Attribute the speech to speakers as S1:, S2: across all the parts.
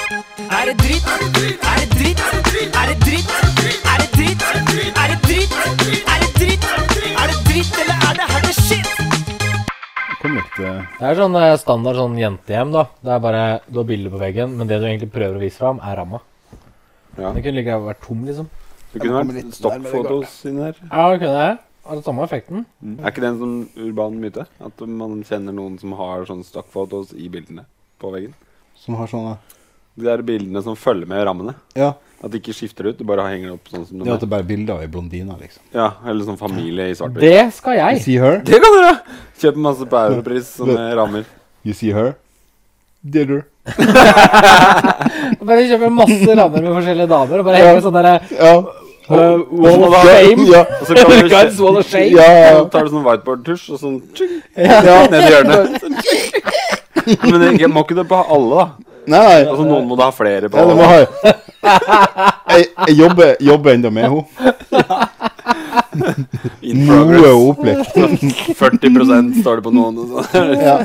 S1: Er det dritt? Er det dritt? Er det dritt? Er det dritt? Er det dritt? Er det dritt? Er det dritt, eller er det her det shit?
S2: Kom litt eh,
S3: Det er sånn eh, standard sånn jentehjem, da. Det er bare du har bilder på veggen, men det du egentlig prøver å vise fram, er ramma.
S2: Ja.
S3: Det kunne like gjerne vært tom, liksom.
S2: Det
S4: Ja, det
S2: kunne
S4: kommer
S2: vært
S4: litt
S2: stoppfotos inni her.
S3: Ja, det kunne jeg. Har det samme effekten.
S4: Mm.
S2: Er ikke det en sånn urban myte? At man kjenner noen som har sånn stockfotos i bildene på veggen?
S4: Som har sånne
S2: De der bildene som følger med rammene.
S4: Ja.
S2: At de ikke skifter ut, du bare henger det opp sånn som
S4: Det
S2: de
S4: at
S2: er.
S4: det bare er bilder av ei blondine, liksom.
S2: Ja, eller sånn familie i svart-hvitt.
S3: Det skal
S4: You
S3: jeg.
S4: see her?
S2: Det kan dere! Kjøp masse på Europris sånne rammer.
S4: You see her? Dealer.
S3: Bare kjøper masse rammer med forskjellige damer og bare henger sånn derre
S4: Ja.
S3: uh, Wall
S2: Og
S3: of
S2: så da-
S3: Shame.
S4: Ja.
S2: Og så kan du
S3: Guys, wall of shame.
S4: Ja.
S2: Så tar du sånn whiteboard-tusj og sånn tjing, ned i hjørnet. Sånn, tjing. Men det, jeg må ikke det på alle, da.
S4: Nei, nei.
S2: Altså, noen må da ha flere på.
S4: Ja, det må
S2: alle.
S4: ha Jeg, jeg jobber, jobber enda med henne.
S2: In
S4: Noe er
S2: progress.
S4: opplekt.
S2: 40 står det på noen. Og sånn.
S4: Ja.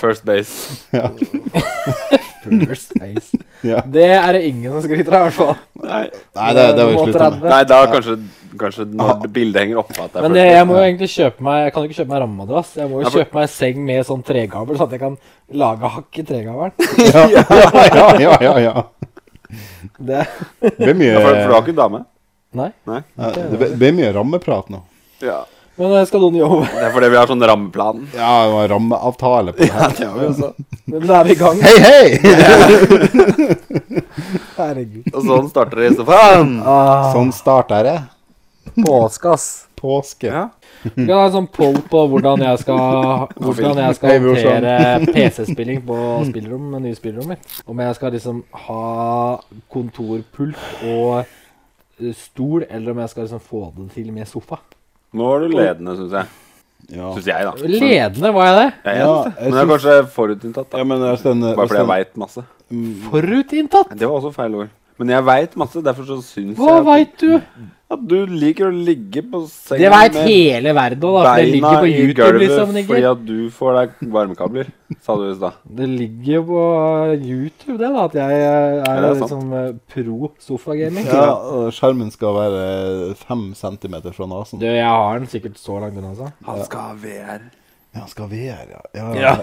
S2: First base.
S4: Ja.
S3: Det er det ingen som skryter av, i hvert fall.
S2: Nei,
S4: Nei, det, det var jo slutten.
S2: Nei da kanskje, kanskje når det bildet henger oppe at det er
S3: Men
S2: first
S3: jeg,
S2: base.
S3: jeg må jo egentlig kjøpe meg Jeg kan jo ikke kjøpe meg rammemadrass. Jeg må jo
S2: Nei, for-
S3: kjøpe meg seng med sånn tregabel, sånn at jeg kan lage hakk i tregabelen.
S4: Ja, ja, ja. ja, ja, ja.
S3: Det
S4: Det blir
S2: Ja, for, for du
S4: mye,
S2: har ikke dame?
S3: Nei.
S2: Nei?
S4: ja, det blir mye rammeprat nå.
S2: Ja.
S3: Men eh, skal noen jobbe?
S2: Det er fordi vi har sånn rammeplan.
S4: Ja, det var rammeavtale på det her.
S2: det har vi også.
S3: Men da er vi i gang.
S4: Hei, hei!
S3: Herregud.
S2: Og sånn starter det i så fall.
S3: Ah,
S4: Sånn starter det.
S3: Påske, ass.
S4: Påske.
S2: Ja.
S3: Vi kan ha en sånn poll på hvordan jeg skal Hvordan jeg skal
S4: Hei, brorsan.
S3: håndtere PC-spilling på spillerom med nye spillerom mitt. Om jeg skal liksom ha kontorpult og eh, stol, eller om jeg skal liksom få det til med sofa.
S2: Nå er du ledende, syns jeg.
S4: Ja.
S2: Syns jeg, da. Men-
S3: Ledende, var jeg sånn- det?
S2: Ja, jeg
S4: Ja,
S2: synes det.
S4: jeg
S2: Men det er
S4: synes-
S2: kanskje forutinntatt, da.
S4: Ja, men hvis den, eh,
S2: Bare
S4: hvis
S2: fordi jeg
S4: den,
S2: veit masse.
S3: Forutinntatt?
S2: Det var også feil ord. Men jeg veit masse, derfor så syns jeg
S3: Hva
S2: at-
S3: veit du?
S2: At du liker å ligge på senga
S3: Det veit hele verden òg, da. for Det ligger på
S2: i
S3: YouTube, liksom. men
S2: fordi
S3: Ikke.
S2: at du får deg varmekabler, sa du i stad.
S3: Det ligger jo på YouTube, det, da. At jeg eh, er,
S2: det er sant.
S3: liksom eh, pro sofagaming.
S4: ja, og skjermen skal være fem centimeter fra
S3: Du,
S4: nesen.
S3: jeg har den sikkert så langt unna, altså.
S2: Han skal ha VR.
S4: Ja, skal VR, ja. Ja,
S2: Ja.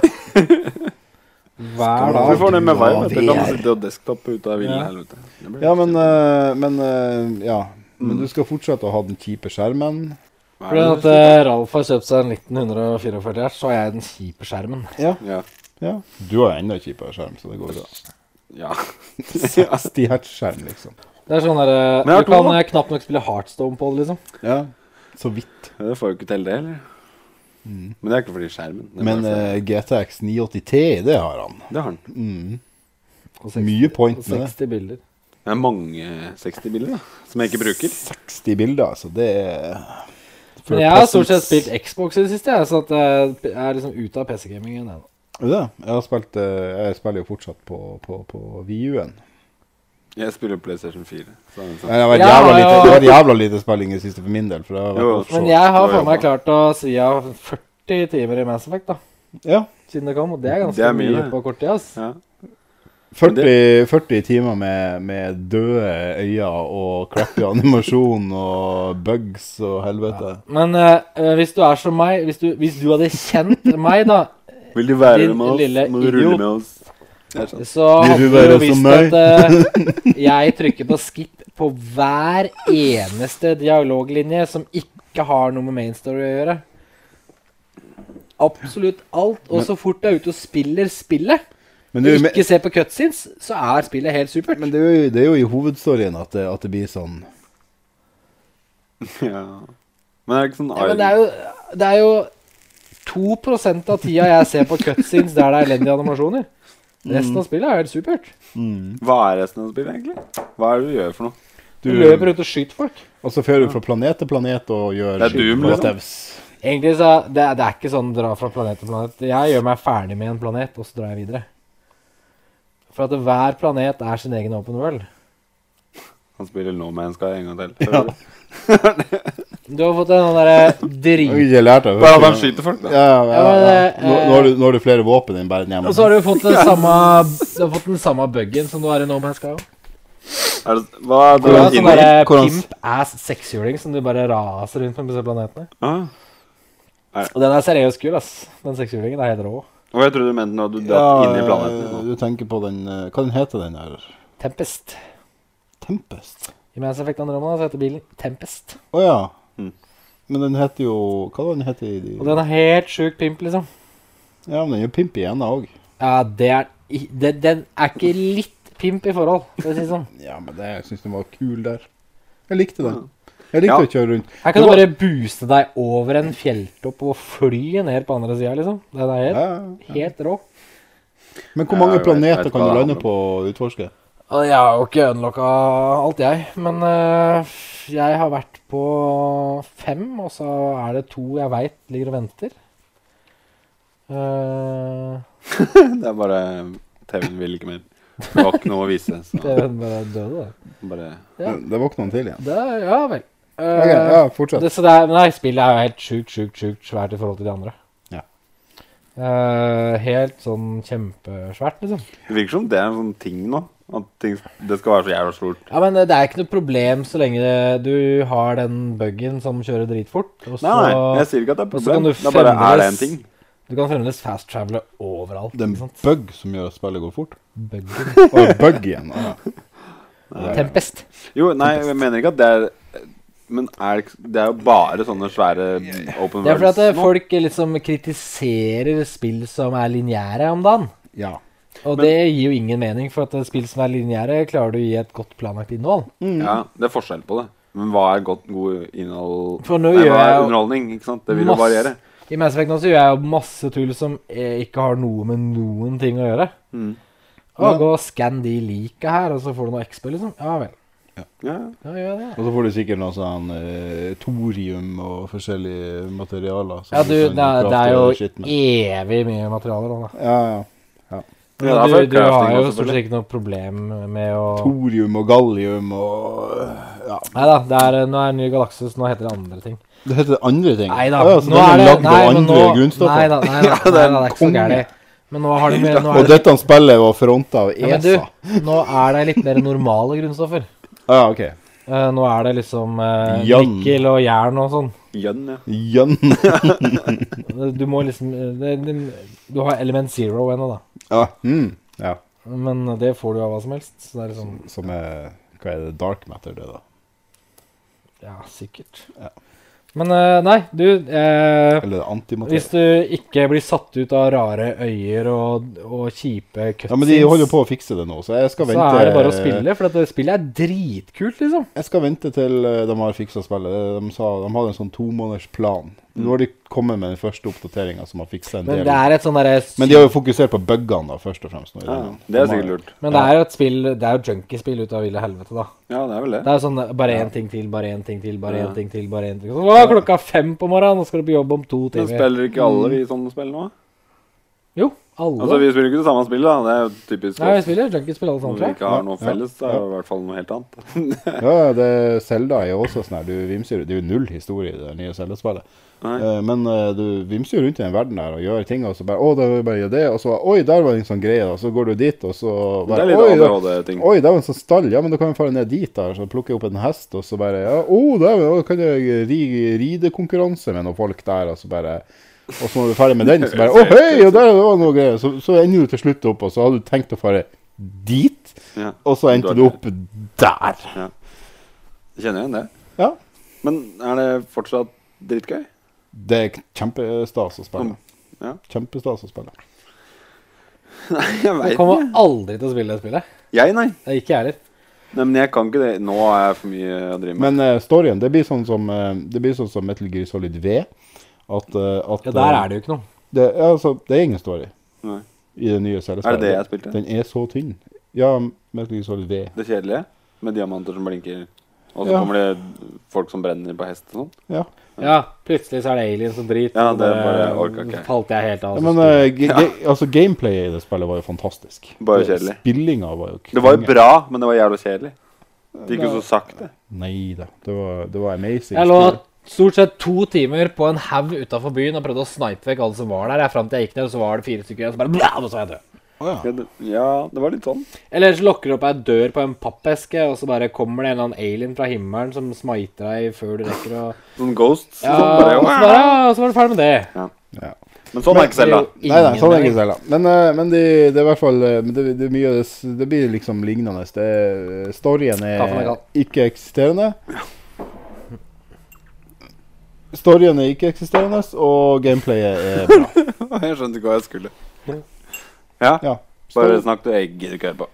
S3: Hver
S2: Du
S3: dag.
S2: får det med
S4: Ja,
S2: vibe. vet du. Da må
S4: VR.
S2: sitte og desktop ute av villen
S3: Ja.
S2: helvete. Det blir
S4: ja
S2: litt
S4: men,
S2: kjipt.
S4: eh, men eh, Ja. Men du skal fortsette å ha den kjipe skjermen.
S2: Hva
S3: Fordi
S2: er
S3: at
S2: det?
S3: eh, Ralf har kjøpt seg en 1944 her, så har jeg den kjipe skjermen.
S4: eh,
S2: Ja.
S4: Ja. Du har enda kjipere skjerm, så det går bra.
S2: ja.
S4: 60 hertz-skjerm, liksom.
S3: Det er sånn derre
S2: Men jeg har
S3: Du kan
S2: to, da.
S3: eh, knapt nok spille Heartstone på det, liksom.
S4: Ja. Så vidt.
S2: Det får jo ikke til, det, eller? Men det er ikke fordi skjermen. Det, er
S4: Mm. Men
S2: bare
S4: eh, GTX 980T, det har han.
S2: fordi- det har den.
S3: Og 60,
S4: Mye point
S3: og
S4: med det.
S3: 60 bilder.
S2: Det er mange 60-biler da, som jeg ikke bruker.
S4: 60 bilder, altså. Det er
S3: Men jeg har stort sett spilt Xbox i det siste, jeg, så at eh, jeg er liksom ute av PC-gamingen ennå.
S4: Er det? Jeg har spilt eh, Jeg spiller jo fortsatt på, på, på VU-en.
S2: Jeg spiller PlayStation 4. Så er det sånn.
S4: Det har vært
S3: Ja,
S4: jævla,
S3: ja.
S4: lite- det har vært jævla lite spilling i det siste for min del. For det har vært
S2: Jo,
S4: offshore.
S3: Men jeg
S2: du har
S3: har for meg
S2: jobbet.
S3: klart å si av 40 timer i Mass Effect, da.
S4: Ja.
S3: Siden det kom, og det er ganske
S2: Det er mye,
S3: mye,
S2: det.
S3: på kort tid, ass.
S2: Ja.
S4: 40, 40 timer med, med døde øyne og crappy animasjon og bugs og helvete.
S3: Men eh, eh, hvis du er som meg, hvis du, hvis du hadde kjent meg, da,
S2: Vil du være
S3: Din
S2: med oss?
S3: lille
S2: Må du rulle
S3: idiot.
S2: med oss? Det er sånn. sant.
S3: så
S4: Vil
S3: hadde
S4: du
S3: du
S4: være
S3: jo
S4: som
S3: visst
S4: meg?
S3: at eh, jeg trykker på skip på hver eneste dialoglinje som ikke har noe med main story å gjøre. Absolutt alt. Og så fort du er ute og spiller spillet,
S4: Men
S3: og
S4: det er jo,
S3: ikke ser på cutscenes, så er spillet helt supert.
S4: men det er jo, det er jo i hovedstoryen at det, at det blir sånn
S2: Ja. Men det er ikke sånn
S3: Ja, men det er jo, det er jo 2 av tida jeg ser på cutscenes der det er elendige animasjoner.
S4: Mm.
S3: Resten av spillet er helt supert.
S2: Hva er resten av spillet, egentlig? Hva er det du gjør for noe?
S3: Du
S4: Du-
S3: løper rundt og skyter folk.
S4: Og så fører du fra planet til planet og gjør
S2: Det er Doom, liksom.
S4: steps.
S3: Egentlig så er- det, er- det er ikke sånn dra fra planet til planet. Jeg gjør meg ferdig med en planet, og så drar jeg videre. For at hver planet er sin egen open world.
S2: Han spiller No Man's Sky en gang til. Ja.
S3: Du har fått en sånn derre
S4: Jeg
S3: drit...
S4: har ikke lært det.
S2: Bare at han skyter folk,
S4: Ja,
S2: da.
S4: ja, ja.
S3: Ja, men, eh,
S4: Nå, nå, har du, nå har du flere våpen enn bare den hjemme.
S3: Og så har du fått den samme Du har fått den samme buggen som du har i No Man's Sky.
S2: Er det, hva er
S3: Du
S2: det?
S3: har en sånn
S2: inni?
S3: derre
S4: hvordan-
S3: pimp ass sekshjuling som du bare raser rundt på disse planetene.
S2: Ah.
S3: Og den er seriøst kul, ass. Den sekshjulingen er helt rå.
S2: Og jeg trodde du mente nå at du
S4: Ja,
S2: datt inn i planeten.
S4: Du tenker på den eh, Hva den heter den der?
S3: Tempest.
S4: Tempest?
S3: I Mass Effect Andromeda så heter bilen Tempest.
S4: Å ja.
S2: Mm.
S4: Men den heter jo Hva var den heter i de
S3: Og den er helt sjukt pimp, liksom.
S4: Ja, men den er jo pimp igjen, da òg.
S3: Ja, det er i- Den, den er ikke litt pimp i forhold, for å si det sånn.
S4: Ja, men det, jeg syns den var kul der. Jeg likte
S3: Mm.
S4: den. Jeg
S2: Ja.
S4: likte å kjøre rundt.
S3: Her kan
S4: Det var-
S3: du bare booste deg over en fjelltopp og fly ned på andre sida, liksom. Den er
S4: Ja,
S3: helt,
S4: ja.
S3: helt rå.
S4: Men hvor
S2: Ja,
S4: mange
S2: jeg vet-
S4: planeter
S2: vet
S4: kan
S2: hva
S4: du
S2: det
S4: lande
S2: handler
S4: på og utforske?
S3: Og Jeg har jo ikke unlocka alt, jeg. Men øh, jeg har vært på fem, og så er det to jeg veit ligger og venter. Eh,
S2: Det er bare TV-en vil ikke mer. Det var ikke noe å vise. Så
S3: det er bare døde, det.
S2: bare
S3: Ja.
S4: Det var ikke noen til igjen.
S3: det er- ja vel. Eh,
S4: Ok, ja, fortsett.
S3: det, så det er, nei, spillet er jo helt sjukt, sjukt, sjukt svært i forhold til de andre.
S4: Ja.
S3: Eh, helt sånn kjempesvært, liksom.
S2: Det virker som det er en sånn ting nå. At ting, det skal være så jævla stort.
S3: Ja, men eh, det er ikke noe problem så lenge det- du har den buggen som kjører dritfort. Og
S2: Nei, nei, jeg
S3: så
S2: sier ikke at det er
S3: og så kan du
S2: problem. Det er bare er det en
S3: fremdeles-
S2: ting.
S3: du kan fremdeles fast travele overalt.
S4: Det er
S3: Ikke
S4: en
S3: sant?
S4: bug som gjør at spillet går fort.
S3: Buggen.
S4: Og en bug igjen. Ja.
S3: Tempest.
S2: Jo, nei, jeg mener ikke at det er Men er det, ikke- det er jo bare sånne svære open
S3: Det er fordi at eh,
S2: worlds nå.
S3: folk liksom kritiserer spill som er lineære om dagen.
S4: ja.
S3: Og det gir jo ingen mening, for at eh, spill som er lineære, klarer du å gi et godt planlagt innhold.
S2: Ja, det er forskjell på det. Men hva er godt, god innhold
S3: For nå
S2: Nei,
S3: gjør
S2: hva er
S3: jeg jo
S2: underholdning? Ikke sant? Det vil jo
S3: masse-
S2: variere.
S3: I Mass Effect nå så gjør jeg jo masse tull som eh, ikke har noe med noen ting å gjøre.
S2: Mm.
S3: Å,
S4: Ja.
S3: gå og skann de lika her, og så får du noe XP, liksom. Ja vel.
S2: Ja.
S3: Ja, gjør det.
S4: Og så får du sikkert noe sånn eh, thorium og forskjellige materialer. som
S3: Ja, du,
S4: kan
S3: det er, det
S4: crafte
S3: er
S4: shit med.
S3: jo evig mye materialer nå, da.
S4: Ja, ja.
S2: Ja, det er for
S3: du, du har
S2: crafting
S3: jo
S2: også,
S3: stort sett ikke noe problem med å
S4: Thorium og gallium og ja.
S3: Nei da, det er, eh, nå er det ny galakse, så nå heter det andre ting.
S4: Det heter andre ting.
S3: Nei da.
S4: Å ja, så den er lagd av
S3: men
S4: andre grunnstoffer.
S3: Nei da, nei, da, nei, da, det er ikke så
S4: konge.
S3: gærent. Men nå har de mer nå
S4: Og
S3: er det,
S4: dette spillet var fronta av E
S3: ja, men
S4: ESA. Ja,
S3: du, nå er det litt mer normale grunnstoffer.
S4: ok.
S3: Eh, nå er det liksom eh,
S4: Jern.
S3: nikkel og jern og sånn.
S2: Jønn, ja.
S4: Jønn.
S3: Du må liksom eh, det, det, Du har element zero ennå, da.
S4: Ja. Mm. ja.
S3: Men det får du av hva som helst. Så det er liksom
S4: Som er Hva er det? Dark matter, det, da?
S3: Ja, sikkert.
S4: Ja.
S3: Men eh, nei, du eh,
S4: Eller
S3: Hvis
S4: antimatter?
S3: du ikke blir satt ut av rare øyer og, og kjipe cutscenes,
S4: Ja, men de holder på å fikse det nå, så jeg skal
S3: så
S4: vente
S3: er det bare å spille. For at det spillet er dritkult, liksom.
S4: Jeg skal vente til eh, de har fiksa spillet. De, sa, de hadde en sånn tomånedersplan. Nå har de kommet med den første oppdateringa som har fiksa en
S3: Men
S4: del.
S3: det er et sånn derre
S4: Men de har jo fokusert på buggene, da, først og fremst. Nå, i
S2: ja.
S4: denne.
S2: Det er
S4: De har-
S2: sikkert lurt.
S3: Men det er jo et spill Det er jo junkiespill ut av ville helvete, da.
S2: Ja, det er vel
S3: Det
S2: det.
S3: er jo sånn bare én ting til, bare én ting til, bare én
S2: Ja.
S3: ting til, bare én ting til. Så, Å, klokka fem på morgenen, nå skal du på jobb om to
S2: Men
S3: timer.
S2: spiller ikke alle i sånne spill nå?
S3: Jo, alle.
S2: Altså, vi spiller ikke det samme spillet, da. Det er jo typisk
S3: Nei, vi
S2: oss.
S3: spiller junkiespill alle
S2: Når
S3: sammen,
S2: vi
S3: tror jeg.
S2: ikke har noe
S4: Ja,
S2: felles, så er
S4: ja.
S2: det i hvert fall noe helt annet.
S4: Ja, ja, det Selda er jo også sånn her. Du vimser jo- Det er jo null historie i det nye Selda-spillet.
S2: Nei.
S4: Eh, Men eh, du vimser jo rundt i den verden der og gjør ting, og så bare Å, der var bare gjør det, og så Oi, der var det en sånn greie, og så går du dit, og så
S2: Det
S4: bare,
S2: er litt
S4: Oi, der,
S2: ADHD-ting.
S4: oi, der var en sånn stall, ja, men da kan vi fare ned dit, der, så plukker jeg opp en hest, og så bare Ja, å, der å, kan jeg ri, ridekonkurranse med noen folk der, og så bare Og så når du er ferdig med den, så bare Å, hei, og der var det noe greier. Så, så ender du til slutt opp, og så hadde du tenkt å fare dit,
S2: Ja.
S4: og så endte du opp der.
S2: Jeg Kjenner igjen det.
S4: Ja.
S2: Men er det fortsatt dritgøy?
S4: Det er kjempestas å spille.
S2: Ja.
S4: Kjempestas å spille.
S2: Nei, jeg
S3: Jeg
S2: veit ikke.
S3: kommer aldri til å spille det spillet.
S2: Jeg, nei.
S3: Det er ikke jeg heller.
S2: nei. Men jeg kan ikke det. Nå har jeg for mye å drive med.
S4: Men eh, storyen, det blir sånn som, eh, det blir sånn som Metal Gear Solid V. At, eh, at
S3: Ja, der er det jo ikke noe.
S4: det ja, altså, Det er ingen story
S2: Nei.
S4: i det nye
S2: Er det
S4: CD-spillet.
S2: det jeg spilte?
S4: Den er så tynn. Ja, Metal Gear Solid V.
S2: Det kjedelige? Med diamanter som blinker, og så
S4: Ja.
S2: kommer det folk som brenner på hest og sånn?
S4: Ja.
S3: Ja, plutselig så er det aliens og drit.
S2: Ja,
S3: og
S2: det bare orker ikke.
S3: falt jeg helt av.
S4: Ja, men eh, ge ge altså, gameplayet i det spillet var jo fantastisk.
S2: Bare kjedelig.
S4: Spillinga var jo
S2: Det var jo
S4: konge.
S2: bra, men det var jævla kjedelig. Det gikk jo så sakte.
S4: Nei da. Det var, det var amazing.
S3: Jeg lå stort sett to timer på en haug utafor byen og prøvde å snipe vekk alle som var der. Jeg, frem til jeg gikk ned, og så var det fire stykker igjen, og så bare blæ, og så var jeg død.
S2: Ja, det- Ja, det var litt sånn.
S3: Eller så lokker du opp ei dør på en pappeske, og så bare kommer det en eller annen alien fra himmelen som smiter deg før du rekker å
S2: Sånn Ghosts.
S3: ja,
S2: sånn bare,
S3: og, så bare, ja, og så var du ferdig med det.
S2: Men sånn er ikke
S3: Det er
S2: Selda.
S4: Nei,
S3: jo
S4: nei, sånn
S3: ingen
S4: er
S3: der.
S4: det ikke selv, da. Men, eh, men det, det er i hvert fall eh, men det, det, er mye, av det, s- det blir liksom lignende. Det, eh, storyen
S3: Ta for
S4: er
S3: meg kall.
S4: ikke-eksisterende. Storyen er ikke-eksisterende, og gameplayet er bra.
S2: Jeg skjønte ikke hva jeg skulle. Ja,
S4: Ja.
S2: bare
S4: Story,
S2: snakk du. Jeg gidder ikke høre på.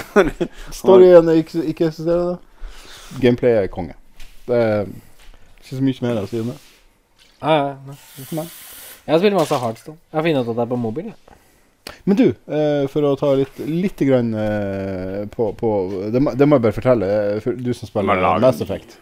S4: storyen er ikke- ikke-eksisterende. Gameplayet er konge. Det er ikke så mye mer å si om det.
S3: Ja, ja, ja.
S4: Nei.
S3: Jeg har spilt masse Hardstone. Jeg har funnet ut at det er på mobil. jeg.
S4: Men du, eh, for å ta litt, litt grann, eh, på, på det, må- det må jeg bare fortelle, eh, for du som spiller
S2: Men lag-
S4: Mass Effect.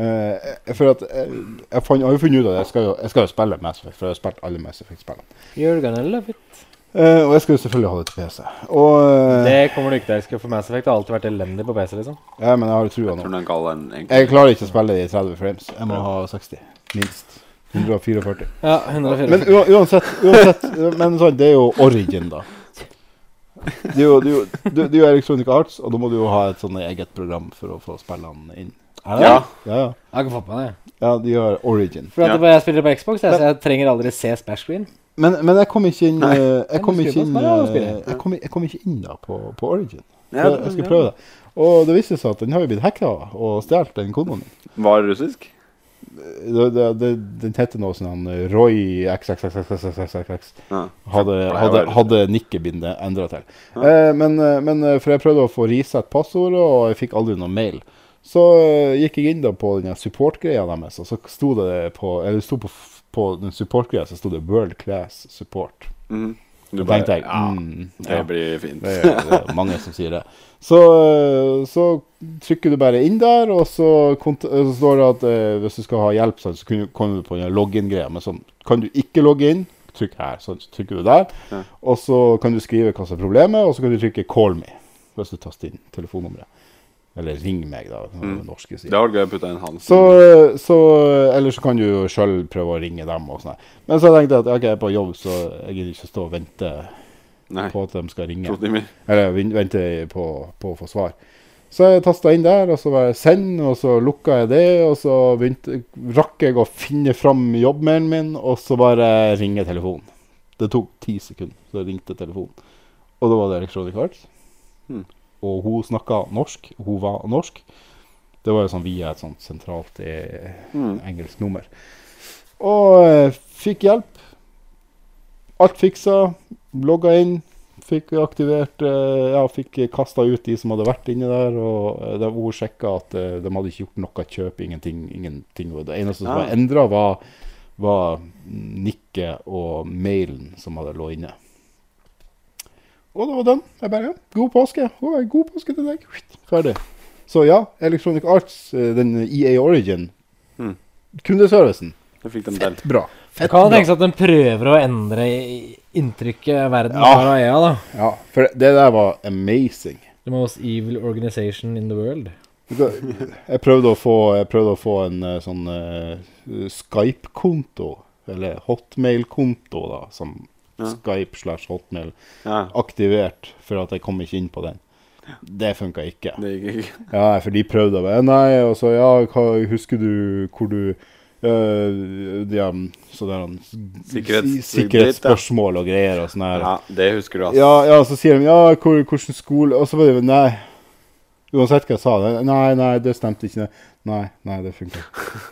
S4: Eh, eh, for at eh, jeg, fant, jeg har jo funnet ut at jeg skal jo, jeg skal jo spille Mass Effect, for jeg har spilt alle Mass Effect-spillene.
S3: You're gonna love it.
S4: Eh, og jeg skal jo selvfølgelig ha det til PC. Og, eh,
S3: Det kommer du ikke til å elske, for Mass Effect har alltid vært elendig på PC, liksom.
S4: ja, men jeg har trua
S2: Tror
S4: nå.
S2: du den kaller den egentlig
S4: Jeg klarer ikke å spille det i 30 frames. Jeg må ha 60. Minst. 144.
S3: Ja, 104.
S4: Men ua- uansett, uansett Men sånn, det er jo origin, da. Det er jo, det er jo, det det er jo Electronic Arts, og da må du jo ha et sånn eget program for å få spillene inn. Er det
S2: Ja.
S4: det? Ja, ja.
S3: Jeg har ikke fått med det.
S4: ja, de har origin.
S3: For at
S2: Ja.
S3: det- jeg spiller på Xbox, jeg, så jeg trenger aldri se splash screen.
S4: Men, men jeg kom ikke inn
S2: Nei.
S4: eh, Jeg kom
S3: Kan du
S4: ikke
S3: skrive
S4: inn,
S3: på spillet,
S4: eh,
S3: da, spillet?
S4: jeg kom, jeg kom ikke inn da på, på origin.
S2: Ja,
S4: Jeg, jeg skal prøve det. Og det viste seg at den har jo blitt hacka og stjålet, den koden min.
S2: Var det russisk?
S4: Det, det, det, den heter noe sånn eh, Roy XXXXXXX.
S2: Ja.
S4: Hadde,
S2: Nei,
S4: hadde,
S2: det var-
S4: hadde nikkebindet endra til. Eh, men, eh, men eh, For jeg prøvde å få reset passordet, og jeg fikk aldri noen mail. Så eh, gikk jeg inn da på den her support-greia deres, og så sto det på eller sto på, f- på den support-greia så sto det 'World Class Support'.
S2: Mhm. Du
S4: Da tenkte jeg
S2: ja,
S4: mm, ja,
S2: det blir fint.
S4: det, er, det er mange som sier det. Så, eh, så trykker du bare inn der, og så, kont så står det at eh, hvis du skal ha hjelp, sånn, så kan du- kommer du på den login-greia. Men sånn, kan du ikke logge inn, trykk her. Sånn, så trykker du der.
S2: Ja.
S4: Og så kan du skrive hva som er problemet, og så kan du trykke 'call me' hvis du taster inn telefonnummeret. Eller 'ring meg', da. som
S2: Mm.
S4: den norske sier.
S2: Det hadde vært gøy å putte inn Hansen.
S4: Så, så Eller så kan du jo sjøl prøve å ringe dem. og sånn her. Men så tenkte jeg at ok, jeg er på jobb, så jeg gidder ikke stå og vente
S2: Nei,
S4: på at de skal ringe.
S2: to timer.
S4: Eller vin- vente på, på å få svar. Så jeg tasta inn der, og så var jeg send, og så lukka jeg det. Og så begynte, rakk jeg å finne fram jobbmailen min, og så bare ringe telefonen. Det tok ti sekunder, så ringte telefonen. Og da var det Electronic Arts.
S2: Hmm.
S4: Og hun snakka norsk. Hun var norsk. Det var jo sånn via et sånt sentralt eh,
S2: Mhm.
S4: engelsk nummer. Og eh, fikk hjelp. Alt fiksa. Logga inn. Fikk aktivert eh, Ja, fikk kasta ut de som hadde vært inni der. Og eh, det- hun sjekka at eh, de hadde ikke gjort noe kjøp, ingenting. ingenting. Og det eneste som
S2: Ja.
S4: var endra, var, var nikket og mailen som hadde lå inne. Og det var den. Jeg bare God påske. Å, god påske til deg. Ferdig. Så ja, Electronic Arts, eh, den EA Origin,
S2: Mm.
S4: kundeservicen,
S2: Jeg fikk dem til.
S4: bra.
S3: Det kan tenkes at den prøver å endre i- inntrykket verden
S4: Ja.
S3: har av EA, da.
S4: Ja, for det det der var amazing.
S3: The most evil organization in the world.
S4: Jeg prøvde å få, jeg prøvde å få en eh, sånn eh, Skype-konto, eller Hotmail-konto, da, som
S2: Ja.
S4: Skype slash Hotmail,
S2: Ja,
S4: aktivert, for at jeg kom ikke inn på den. Det funka ikke.
S2: det gikk ikke.
S4: Ja, for de prøvde å være Nei, og så ja, hva, husker du hvor du øh, de, um, så der, han,
S2: Sikkerhets-
S4: Sikkerhetsspørsmål og greier og sånn her.
S2: Ja, det husker du, altså.
S4: Ja, ja, så sier de ja, hvor, hvordan skole Og så var det nei. Uansett hva jeg sa, det- nei, nei, det stemte ikke. det. Nei, nei, det funka.